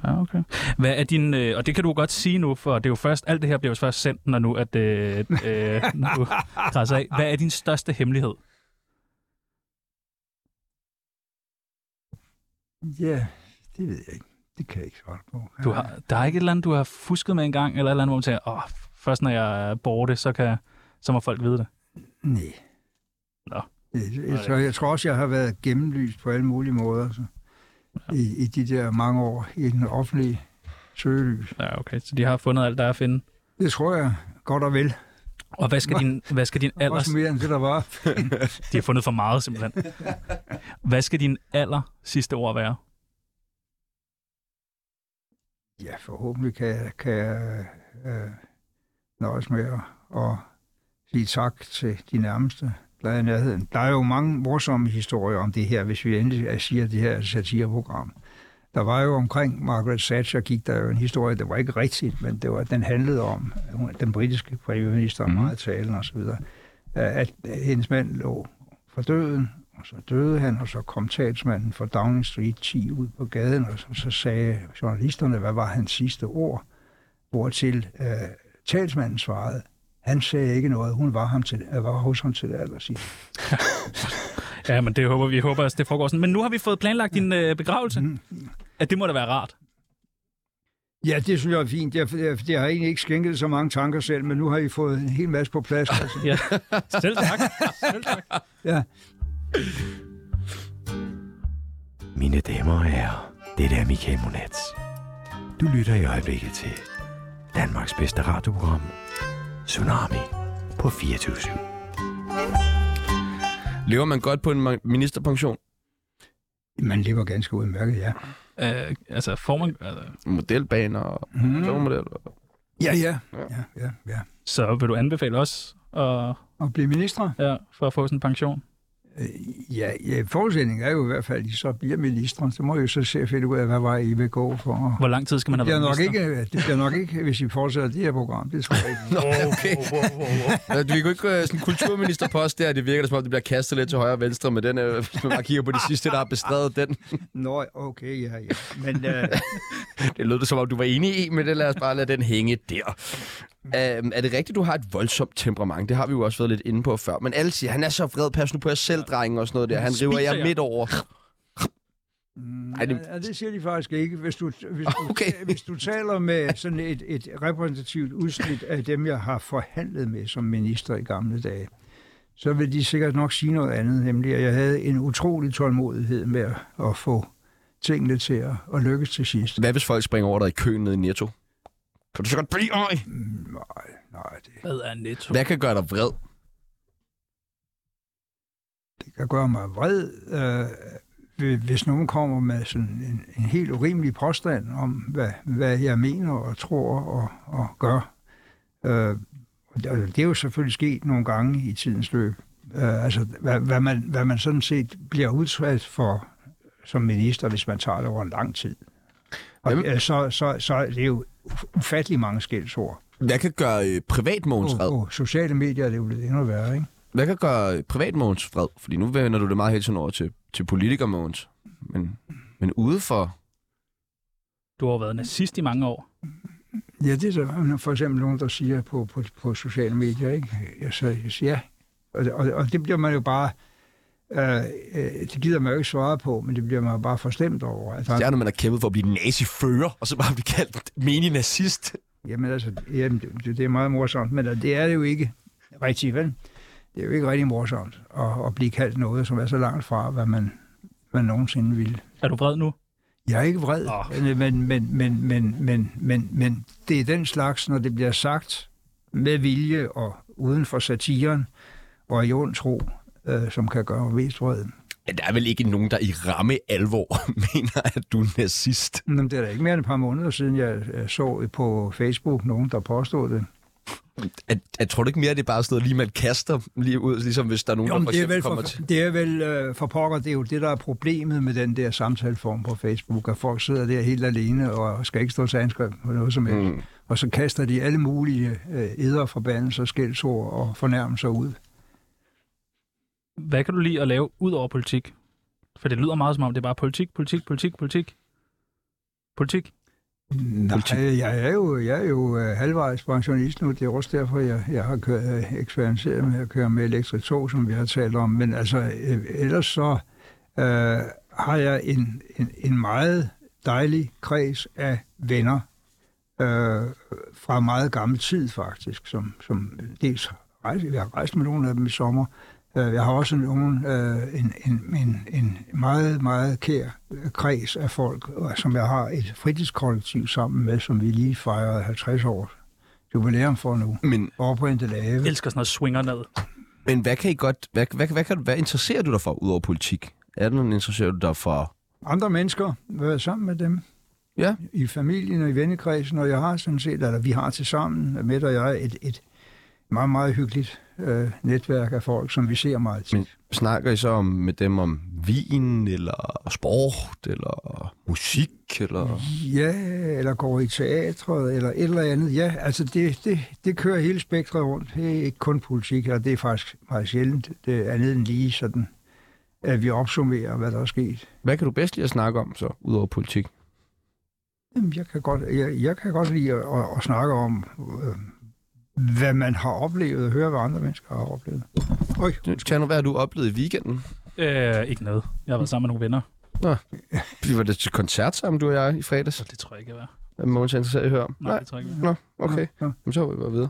Ja, okay. Hvad er din... Øh, og det kan du godt sige nu, for det er jo først... Alt det her bliver jo først sendt, når nu, at øh, øh, når du krasser af. Hvad er din største hemmelighed? Ja, det ved jeg ikke. Det kan jeg ikke svare på. Du har, der er ikke et eller andet, du har fusket med engang, eller et eller andet, hvor man tænker, åh, først når jeg er borte, så, kan, så må folk vide det. Nej. Nå. Jeg, jeg, tror, jeg tror også, jeg har været gennemlyst på alle mulige måder så. I, i de der mange år i den offentlige søgelys. Ja, okay. Så de har fundet alt, der er at finde. Det tror jeg godt og vel. Og hvad skal din, hvad skal din alder... Også mere end det, der var. De har fundet for meget, simpelthen. Hvad skal din aller sidste ord være? Ja, forhåbentlig kan jeg, kan jeg øh, nøjes med at, at sige tak til de nærmeste, der er i nærheden. Der er jo mange morsomme historier om det her, hvis vi endelig siger det her satireprogram. Der var jo omkring Margaret Thatcher, gik der jo en historie, det var ikke rigtigt, men det var, den handlede om, hun- den britiske premierminister, mm. meget talen og så videre, at hendes mand lå for døden, og så døde han, og så kom talsmanden for Downing Street 10 ud på gaden, og så, så sagde journalisterne, hvad var hans sidste ord, hvortil øh, talsmanden svarede, han sagde ikke noget, hun var, ham til, øh, var hos ham til det allersidst. Ja, men det håber vi. håber, at det foregår sådan. Men nu har vi fået planlagt din øh, begravelse. Mm. At det må da være rart. Ja, det synes jeg er fint. Jeg, jeg, jeg har egentlig ikke skænket så mange tanker selv, men nu har I fået en hel masse på plads. Altså. Ja. Selv tak. Selv tak. Ja. Mine damer og herrer, det er Michael Monats. Du lytter i øjeblikket til Danmarks bedste radioprogram, Tsunami på 24 Lever man godt på en ma- ministerpension? Man lever ganske udmærket, ja. Øh, altså, får man... Altså, Modelbaner og Mm. togmodeller? Ja, ja. ja, ja, ja. så vil du anbefale os at, Og blive ministre? ja, for at få sådan en pension? Øh, Ja, ja, forudsætningen er jo i hvert fald, at I så bliver ministre. Så må I jo så se at finde ud af, hvad vej I vil gå for. Hvor lang tid skal man have det været nok minister? ikke, Det bliver nok ikke, hvis I fortsætter det her program. Det tror jeg ikke. Nå, okay. Vi kunne ikke øh, sådan en kulturministerpost der, det virker da som om, det bliver kastet lidt til højre og venstre, men den, øh, hvis man bare kigger på de sidste, der har bestredet den. Nå, okay, ja, ja. Men øh, Det lød det som om, du var enig i, men det lad os bare lade den hænge der. Øhm, er det rigtigt, du har et voldsomt temperament? Det har vi jo også været lidt inde på før. Men alle siger, han er så vred, pas nu på jer selv, drenge, og sådan noget der. Han river Spiser jer jer. midt over. Ej, det- det... Mm, Ja, det siger de faktisk ikke. Hvis du, hvis, du, Okay. hvis du taler med sådan et, et repræsentativt udsnit af dem, jeg har forhandlet med som minister i gamle dage, så vil de sikkert nok sige noget andet, nemlig at jeg havde en utrolig tålmodighed med at- at få tingene til at, at lykkes til sidst. Hvad hvis folk springer over dig i køen nede i Netto? Kan du så godt blive øj? Nej, nej, det, Hvad er netto? Hvad kan gøre dig vred? det kan gøre mig vred, øh, hvis nogen kommer med sådan en, en helt urimelig påstand om, hvad, hvad jeg mener og tror og, og gør. Øh, og det, og det er jo selvfølgelig sket nogle gange i tidens løb. Øh, altså, hvad, hvad, man, hvad man sådan set bliver udsat for som minister, hvis man tager det over en lang tid. Og, Hvem- øh, så, så, så er det jo uf- ufattelig mange skældsord. Hvad kan gøre øh, privatmogens vred? På, på sociale medier er det jo lidt endnu værre, ikke? Hvad kan gøre øh, privatmogens vred? Fordi nu vender du det meget hele tiden over til, til politikermogens. Men, men udefor... Du har jo været nazist i mange år. Ja, det er så for eksempel nogen, der siger på, på, på sociale medier, ikke? Jeg så, jeg siger, ja. Og, og, og det bliver man jo bare... Øh, øh, det gider man jo ikke svare på, men det bliver man jo bare forstemt over. Altså, Det er, når man har kæmpet for at blive nazifører, og så bare blive kaldt menig nazist. Jamen altså, jamen, det, det er meget morsomt, men altså, det er det jo ikke rigtigt, vel? Det er jo ikke rigtig morsomt at, at blive kaldt noget, som er så langt fra, hvad man, man nogensinde ville. Er du vred nu? Jeg er ikke vred, Åh. oh. men, men, men, men, men, men, men det er den slags, når det bliver sagt med vilje og uden for satiren og i ond tro, øh, som kan gøre mig mest vred. Ja, der er vel ikke nogen, der i ramme alvor mener, at du er nazist. Men det er da ikke mere end et par måneder siden, jeg øh, så på Facebook nogen, der påstod det. At, at, tror du ikke mere, at det er bare sådan noget, lige man kaster lige ud, ligesom hvis der er nogen, Jo, men der for det er eksempel vel, kommer for, til... det er vel øh, for pokker, det er jo det, der er problemet med den der samtaleform på Facebook, at folk sidder der helt alene og skal ikke stå til anskrift på noget som helst. Mm. Og så kaster de alle mulige øh, æder, forbandelser, skældsord og fornærmelser ud. Hvad kan du lide at lave ud over politik? For det lyder meget som om, det er bare politik, politik, politik, politik. Politik. Nej, jeg er jo, jeg er jo øh, halvvejs pensionist nu. Det er også derfor, jeg, jeg har kørt, øh, eksperimenteret med at køre med elektrisk tog, som vi har talt om. Men altså, øh, ellers så øh, har jeg en, en, en meget dejlig kreds af venner øh, fra meget gammel tid faktisk, som, som dels rejse, jeg har rejst med nogle af dem i sommer. Øh, Jeg har også nogen, øh, en, en, en, en meget, meget kær øh, kreds af folk, og som jeg har et fritidskollektiv sammen med, som vi lige fejrede 50 år jubilæum for nu, Men, over på Endelave. Jeg elsker sådan noget swinger ned. men hvad kan I godt... Hvad, hvad, hvad, hvad, hvad interesserer du dig for, udover politik? Er der nogen, interesserer du dig for... Andre mennesker, være sammen med dem. Ja. i familien og i vennekredsen, og jeg har sådan set, eller vi har til sammen, med og jeg, et, et meget, meget hyggeligt øh, netværk af folk, som vi ser meget tit. Men snakker I så om, med dem om vin, eller sport, eller musik, eller... Ja, eller går i teatret, eller et eller andet. Ja, altså det, det, det kører hele spektret rundt. Det er ikke kun politik, og det er faktisk meget sjældent. Det er andet end lige sådan, at vi opsummerer, hvad der er sket. Hvad kan du bedst lide at snakke om så, udover politik? Jamen, jeg kan godt, jeg, jeg kan godt lide at, at, at snakke om, øh, hvad man har oplevet, og høre, hvad andre mennesker har oplevet. Øj, Tjerno, hvad har du oplevet i weekenden? Øh, ikke noget. Jeg har været sammen med nogle venner, Vi var det til koncert sammen, du og jeg, i fredags. så det tror jeg ikke, jeg var. Er Mogens interesseret i at høre om? Nej, det tror jeg ikke. jeg Nå, okay. Nå, nå. Jamen, så var vi bare videre.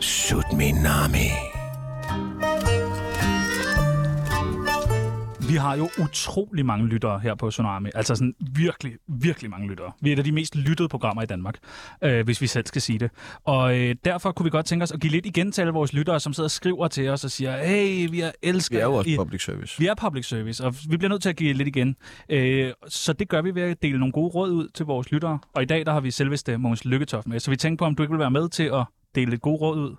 Sut min nami. var. Vi har jo utrolig mange lyttere her på Tsunami. Altså sådan virkelig, virkelig mange lyttere. Vi er et af de mest lyttede programmer i Danmark, øh, hvis vi selv skal sige det. Og øh, derfor kunne vi godt tænke os at give lidt igen til alle vores lyttere, som sidder og skriver til os og siger, hey, vi har elsket Vi er jo jer også i- public service. Vi er public service, og vi bliver nødt til at give lidt igen. Øh, så det gør vi ved at dele nogle gode råd ud til vores lyttere. Og i dag der har vi selveste Mogens Lykketoft med, så vi tænkte på, om du ikke vil være med til at dele lidt gode råd ud.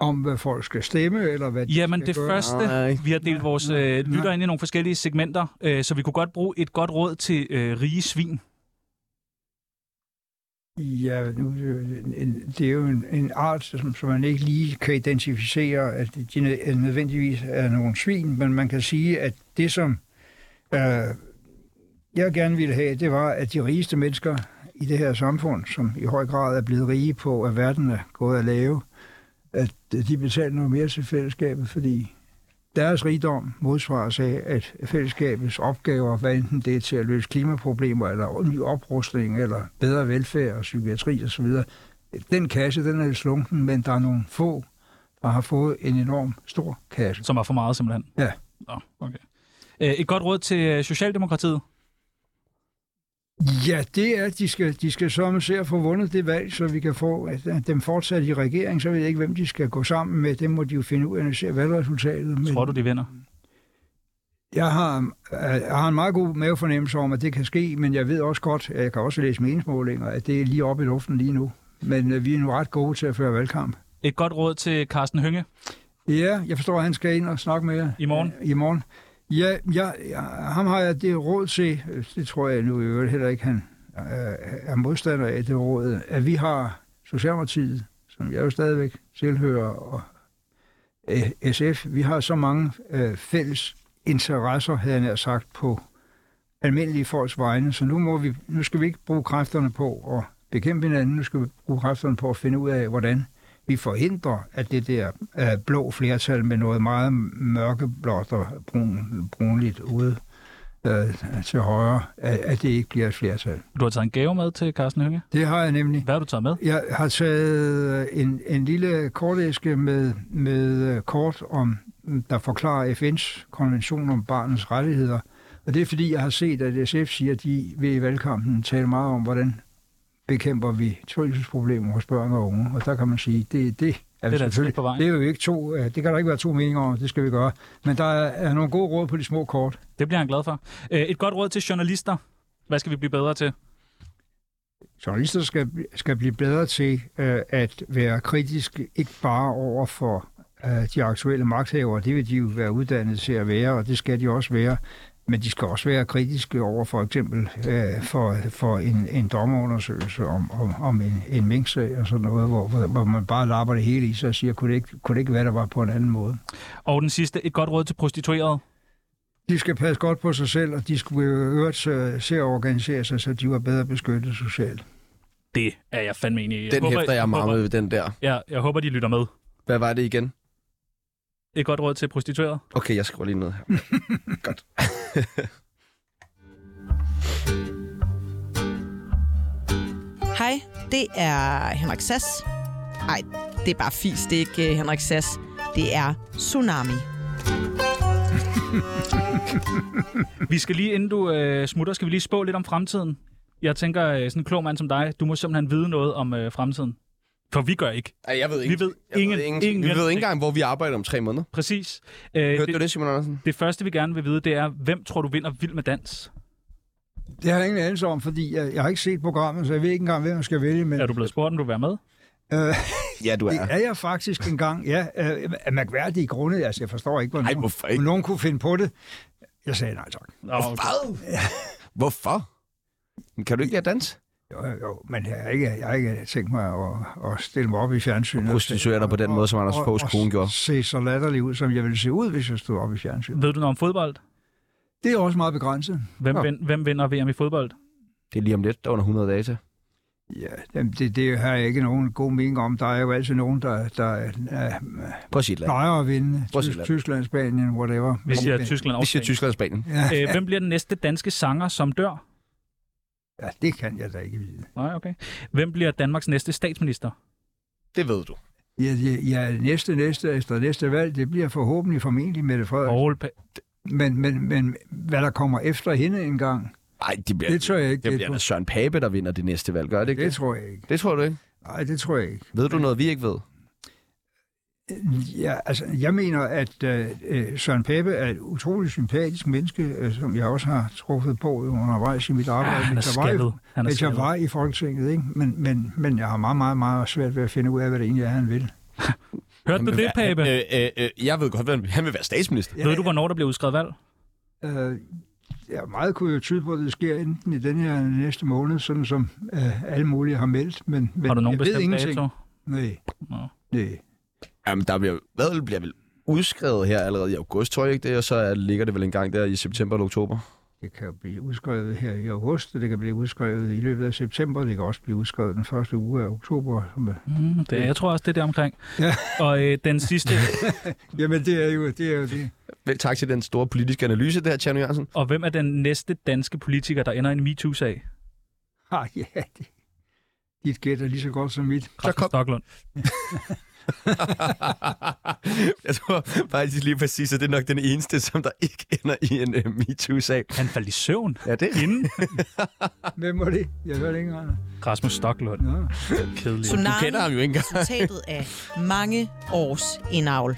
om, hvad folk skal stemme, eller hvad de Jamen skal det gøre? første, Nej. vi har delt vores øh, lytter ind i nogle forskellige segmenter, øh, så vi kunne godt bruge et godt råd til øh, rige svin. Ja, nu, øh, en- det er jo en, en art, som, som man ikke lige kan identificere, at de nø- nødvendigvis er nogle svin, men man kan sige, at det, som øh, jeg gerne ville have, det var, at de rigeste mennesker i det her samfund, som i høj grad er blevet rige på, at verden er gået at lave, at øh, de betaler noget mere til fællesskabet, fordi deres rigdom modsvares af, at fællesskabets opgaver, hvad enten det er til at løse klimaproblemer, eller ny oprustning, eller bedre velfærd og psykiatri osv., den kasse, den er lidt slunken, men der er nogle få, der har fået en enorm stor kasse. Som er for meget, simpelthen. Ja. Nå, okay. Øh, Et godt råd til øh, Socialdemokratiet. Ja, det er, at de skal, de skal så se at få vundet det valg, så vi kan få at at dem fortsat i regering, så ved jeg ikke, hvem de skal gå sammen med. Det må de jo finde ud af, når de ser valgresultatet. Men... Tror du, de vinder? Jeg har, jeg har en meget god mavefornemmelse om, at det kan ske, men jeg ved også godt, at jeg kan også læse meningsmålinger, at det er lige oppe i luften lige nu. Men øh, vi er nu ret gode til at føre valgkamp. Et godt råd til Carsten Hønge Ja, jeg forstår, at han skal ind og snakke med jer Øh, i morgen. i morgen. Ja, jeg, jeg, ham har jeg det råd til, øh, det tror jeg nu i øvrigt heller ikke, han øh, er modstander af det råd, at vi har Socialdemokratiet, som jeg jo stadigvæk tilhører, og øh, SF, vi har så mange øh, fælles interesser, havde jeg nær sagt, på almindelige folks vegne, så nu, må vi, nu skal vi ikke bruge kræfterne på at bekæmpe hinanden, nu skal vi bruge kræfterne på at finde ud af, hvordan vi forhindrer, at det der øh, blå flertal med noget meget mørkeblåt og brun, brunligt ude øh, til højre, at, at det ikke bliver et flertal. Du har taget en gave med til Carsten Hønge. Det har jeg nemlig. Hvad har du taget med? Jeg har taget øh, en, en lille kortæske med, med øh, kort, om, der forklarer FN's konvention om barnets rettigheder. Og det er fordi, jeg har set, at SF siger, at de vil i valgkampen tale meget om, hvordan bekæmper vi trivselsproblemer hos børn og unge. Og der kan man sige, det, altså det er, Det er da vi et skridt selvfølgelig. på vejen. Det er jo ikke to, øh, det kan der ikke være to meninger om, det skal vi gøre. Men der er, er nogle gode råd på de små kort. Det bliver han glad for. Øh, Et godt råd til journalister. Hvad skal vi blive bedre til? journalister skal, skal blive bedre til øh, at være kritisk, ikke bare over for øh, de aktuelle magthavere, det vil de jo være uddannet til at være, og det skal de også være, men de skal også være kritiske over for eksempel øh, for, for en, en dommerundersøgelse om, om, om en, en minksag og sådan noget, hvor, hvor- hvor man bare lapper det hele i sig og siger, kunne det, ikke, kunne det ikke være, der var på en anden måde? Og den sidste, et godt råd til prostituerede. De skal passe godt på sig selv, og de skulle jo i øvrigt øh, se at organisere sig, så de var bedre beskyttet socialt. Det er jeg fandme enig i. Jeg Den håber- hæfter jeg meget håber- med ved den der. Ja, jeg håber, de lytter med. Hvad var det igen? Et godt råd til prostituerede. Okay, jeg skriver lige ned her. Godt. Hej, det er Henrik Sass. Nej, det er bare fis, det er ikke øh, Henrik Sass. Det er Tsunami. Vi skal lige, inden du øh, smutter, skal vi lige spå lidt om fremtiden. Jeg tænker, øh, sådan en klog mand som dig, du må simpelthen vide noget om øh, fremtiden. For vi gør ikke. Ej, jeg ved Vi ved Jeg ingen, ved ingen, ingenting. Vi ved ikke engang, hvor vi arbejder om tre måneder. Præcis. Øh, Hørte du det, det, Simon Andersen? det første, vi gerne vil vide, det er, hvem tror du vinder Vild med Dans? Det har jeg ingen anelse om, fordi jeg, jeg har ikke set programmet, så jeg ved ikke engang, hvem jeg skal vælge. Men, Er du blevet spurgt, om du vil være med? øh, Ja, du det er jeg faktisk engang. Ja, øh, af mærkværdige grunde. Altså, jeg forstår ikke, hvor Ej, nogen, hvorfor ikke? nogen kunne finde på det. Jeg sagde nej tak. Nå, okay. Hvad? Hvorfor? Men Kan du ikke lide at danse? Jo, jo, jo, men jeg har ikke, jeg har ikke tænkt mig at, at stille mig op i fjernsynet. Og prostituere dig på den måde, som Anders Foghs kone gjorde. Og se så latterlig ud, som jeg ville se ud, hvis jeg stod op i fjernsynet. Ved du noget om fodbold? Det er også meget begrænset. Hvem, Nå. vin, hvem vinder VM i fodbold? Det er lige om lidt, der er under 100 dage til. Ja, jamen, det, det har jeg ikke nogen god mening om. Der er jo altid nogen, der, der øh, Prøv at sige et land. plejer at vinde. Prøv at sige Tysk- land. Tyskland, Spanien, whatever. Vi siger Men- Tyskland Vi siger også. Tyskland og Spanien. Ja, Øh, hvem bliver den næste danske sanger, som dør? ja, det kan jeg da ikke vide. Nej, okay. Hvem bliver Danmarks næste statsminister? Det ved du. Ja, ja, ja, næste, næste, efter næste valg, det bliver forhåbentlig formentlig Mette Frederiksen. Poul Pa- Men, men, men hvad der kommer efter hende engang, Nej, det bliver, det det, tror jeg ikke. det bliver da Søren Pape, der vinder det næste valg. Gør det ikke det det? tror jeg ikke. Det tror du ikke. Nej, det tror jeg ikke. Ved du noget, vi ikke ved? Ja, altså, jeg mener, at øh, øh, Søren Pape er et utroligt sympatisk menneske, øh, som jeg også har truffet på undervejs i mit arbejde. Ah, han er mens jeg var i- skaldet. Han er mens Altså, jeg skaldet. var i Folketinget, ikke? Men, men, men jeg har meget, meget, meget svært ved at finde ud af, hvad det egentlig er, han vil. Hørte du det, Pape? Øh, øh, øh, jeg ved godt, hvem han vil være statsminister. Ved du, hvornår der bliver udskrevet valg? Øh, ja, meget kunne jo tyde på, at det sker enten i den her eller næste måned, sådan som øh, alle mulige har meldt. Men, men Har du nogen jeg ved bestemt ingenting. dato? Nej. Nå. Nej. Jamen, der bliver, hvad bliver vel udskrevet her allerede i august, tror jeg ikke det, og så er- ligger det vel engang der i september eller oktober. Det kan jo blive udskrevet her i august, og det kan blive udskrevet i løbet af september, og det kan også blive udskrevet den første uge af oktober. som- Mm, det, jeg tror også, det er der omkring. Ja. Og øh, den sidste, Jamen, det er jo det. Er jo det. Vel, tak til den store politiske analyse der, Tjerno Jørgensen. og hvem er den næste danske politiker, der ender i en MeToo-sag? Ah, ja, det. Dit gæt er lige så godt som mit. Så kom. Stoklund. jeg tror faktisk lige præcis, at det er nok den eneste, som der ikke ender i en uh, MeToo-sag. Han faldt i søvn. Ja, det Inden Hvem var det? Jeg hørte ikke engang. Rasmus Stoklund. Nå. Kedelig. Tsunami, Du kender ham jo ikke engang. resultatet af mange års indavl.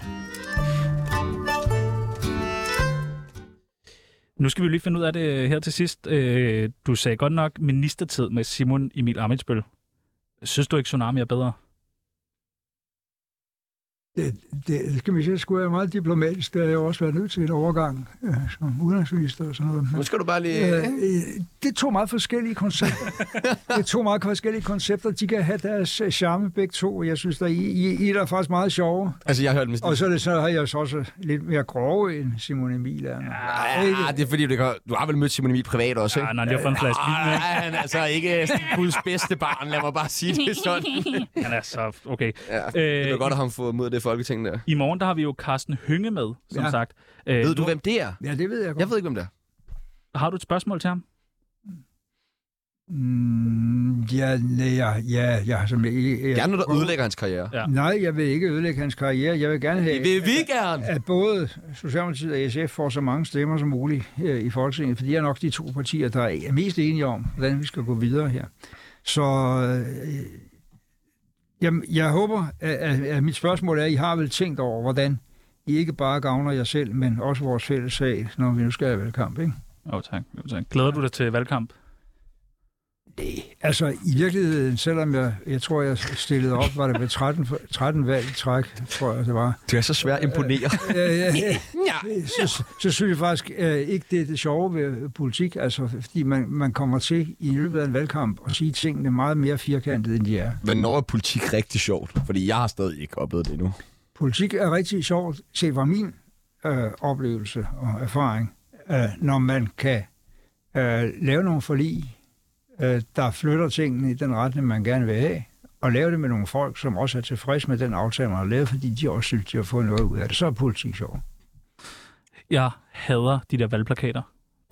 Nu skal vi lige finde ud af det her til sidst. Øh, Du sagde godt nok ministertid med Simon Emil Amitsbøl. Synes du ikke, Tsunami er bedre? Det, det, det skal man sige, skulle være meget diplomatisk. Det har jeg jo også været nødt til en overgang øh, som udenrigsminister og sådan noget. Nu Men, skal du bare lige... øh, øh, det er to meget forskellige koncepter. det er to meget forskellige koncepter. De kan have deres øh, charme begge to. Jeg synes, der i, i, i der er faktisk meget sjove. Altså, jeg har hørt den... Og så, er det, så har jeg så også lidt mere grove end Simon Emil er. Ja, Ah, det er fordi, du, kan... du har vel mødt Simon Emil privat også, ikke? Ah, nej, det er for en flaske vin, Nej, ikke? han er altså ikke sådan Guds bedste barn, lad mig bare sige det sådan. Han er så... Okay. Ja, det Øh, er godt at have fået mod det folketing der. I morgen der har vi jo Carsten Hynge med, som Ja. sagt. Øh, Ved du, hvem det er? ja det ved jeg godt. Jeg ved ikke, hvem det er. Har du et spørgsmål til ham? Mm, ja, nej, ja, ja, ja, som jeg, jeg, Gerne noget, der ødelægger hans karriere. Ja. Nej, jeg vil ikke ødelægge hans karriere. Jeg vil gerne have... Det vil vi gerne! at både Socialdemokratiet og SF får så mange stemmer som muligt øh, i Folketinget, for de er nok de to partier, der er mest enige om, hvordan vi skal gå videre her. Så øh, jamen, jeg håber, at, at, at mit spørgsmål er, at I har vel tænkt over, hvordan I ikke bare gavner jer selv, men også vores fælles sag, når vi nu skal have valgkamp, ikke? Åh, oh, tak. Jo, tak. Glæder du dig til valgkamp? Altså, i virkeligheden, selvom jeg, jeg tror, jeg stillede op, var det ved 13, for- 13 valg i træk, tror jeg, det var. Du er så svær at imponere. Øh, ja, ja. Så, så synes jeg faktisk øh, ikke, det er det sjove ved politik, altså, fordi man, man kommer til i løbet af en valgkamp og sige tingene meget mere firkantet, end de er. Hvornår er politik rigtig sjovt? Fordi jeg har stadig ikke oplevet det endnu. Politik er rigtig sjovt, set fra min øh, oplevelse og erfaring, øh, når man kan øh, lave nogle forlig, øh, der flytter tingene i den retning, man gerne vil have, og lave det med nogle folk, som også er tilfredse med den aftale, man har lavet, fordi de også synes, de har fået noget ud af det. Så er politik sjovt. Jeg hader de der valgplakater,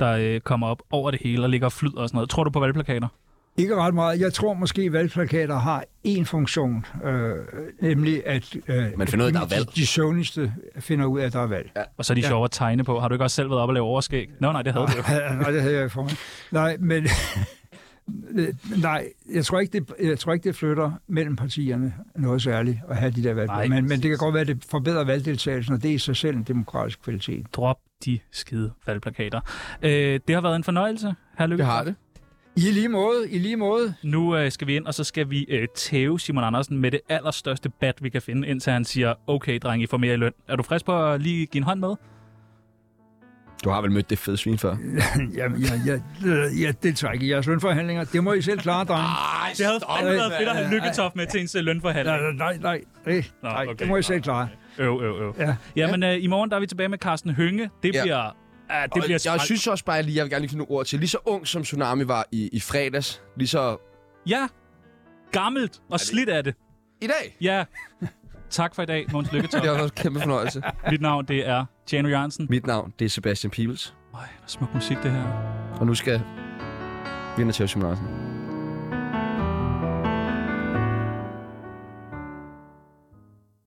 der øh, kommer op over det hele og ligger og flyder og sådan noget. Tror du på valgplakater? Ikke ret meget. Jeg tror måske, at valgplakater har én funktion, øh, nemlig at øh, Man finder ud af, at der er de- valg. de søvnigste finder ud af, at der er valg. Ja. Og så er de ja. sjove at tegne på. Har du ikke også selv været op og lave overskæg? Nå, nej, det havde du jo. Nej, det havde jeg for mig. Nej, men... Øh, Nej, jeg tror, ikke, det, jeg tror ikke, det flytter mellem partierne noget særligt at have de der valg. Nej. Men, men det kan godt være, at det forbedrer valgdeltagelsen, og det er i sig selv en demokratisk kvalitet. Drop de skide valgplakater. Øh, det har været en fornøjelse, herr Lykke. Jeg har det. I lige måde, i lige måde. Nu øh, skal vi ind, og så skal vi øh, tæve Simon Andersen med det allerstørste bat, vi kan finde, indtil han siger, okay, dreng, I får mere i løn. Er du frisk på at lige give en hånd med? Du har vel mødt det fede svin før? Jamen, jeg, jeg, jeg, jeg deltager ikke i jeres lønforhandlinger. Det må I selv klare, drenge. Nej, Det havde fandme været fedt at have mand. Lykketoft med til ens øh, lønforhandling. Nej, nej, nej. Det, Nå, nej, okay. det må I selv klare. Øv, øv, øv. Ja. Jamen, øh, i morgen der er vi tilbage med Carsten Hynge. Det Ja. bliver... Ja, det Det bliver jeg skrald. synes også bare, at jeg vil gerne lige finde nogle ord til. Lige så ung som Tsunami var i, i fredags, lige så Ja, gammelt og slidt af det. i dag. Ja. Tak for i dag, Måns Lykketoft. Det har været en kæmpe fornøjelse. Mit navn, det er Tjano Jørgensen. Mit navn, det er Sebastian Peebles, Øj, hvor smuk musik det her. og nu skal vi ind og tæve Simon Andersen.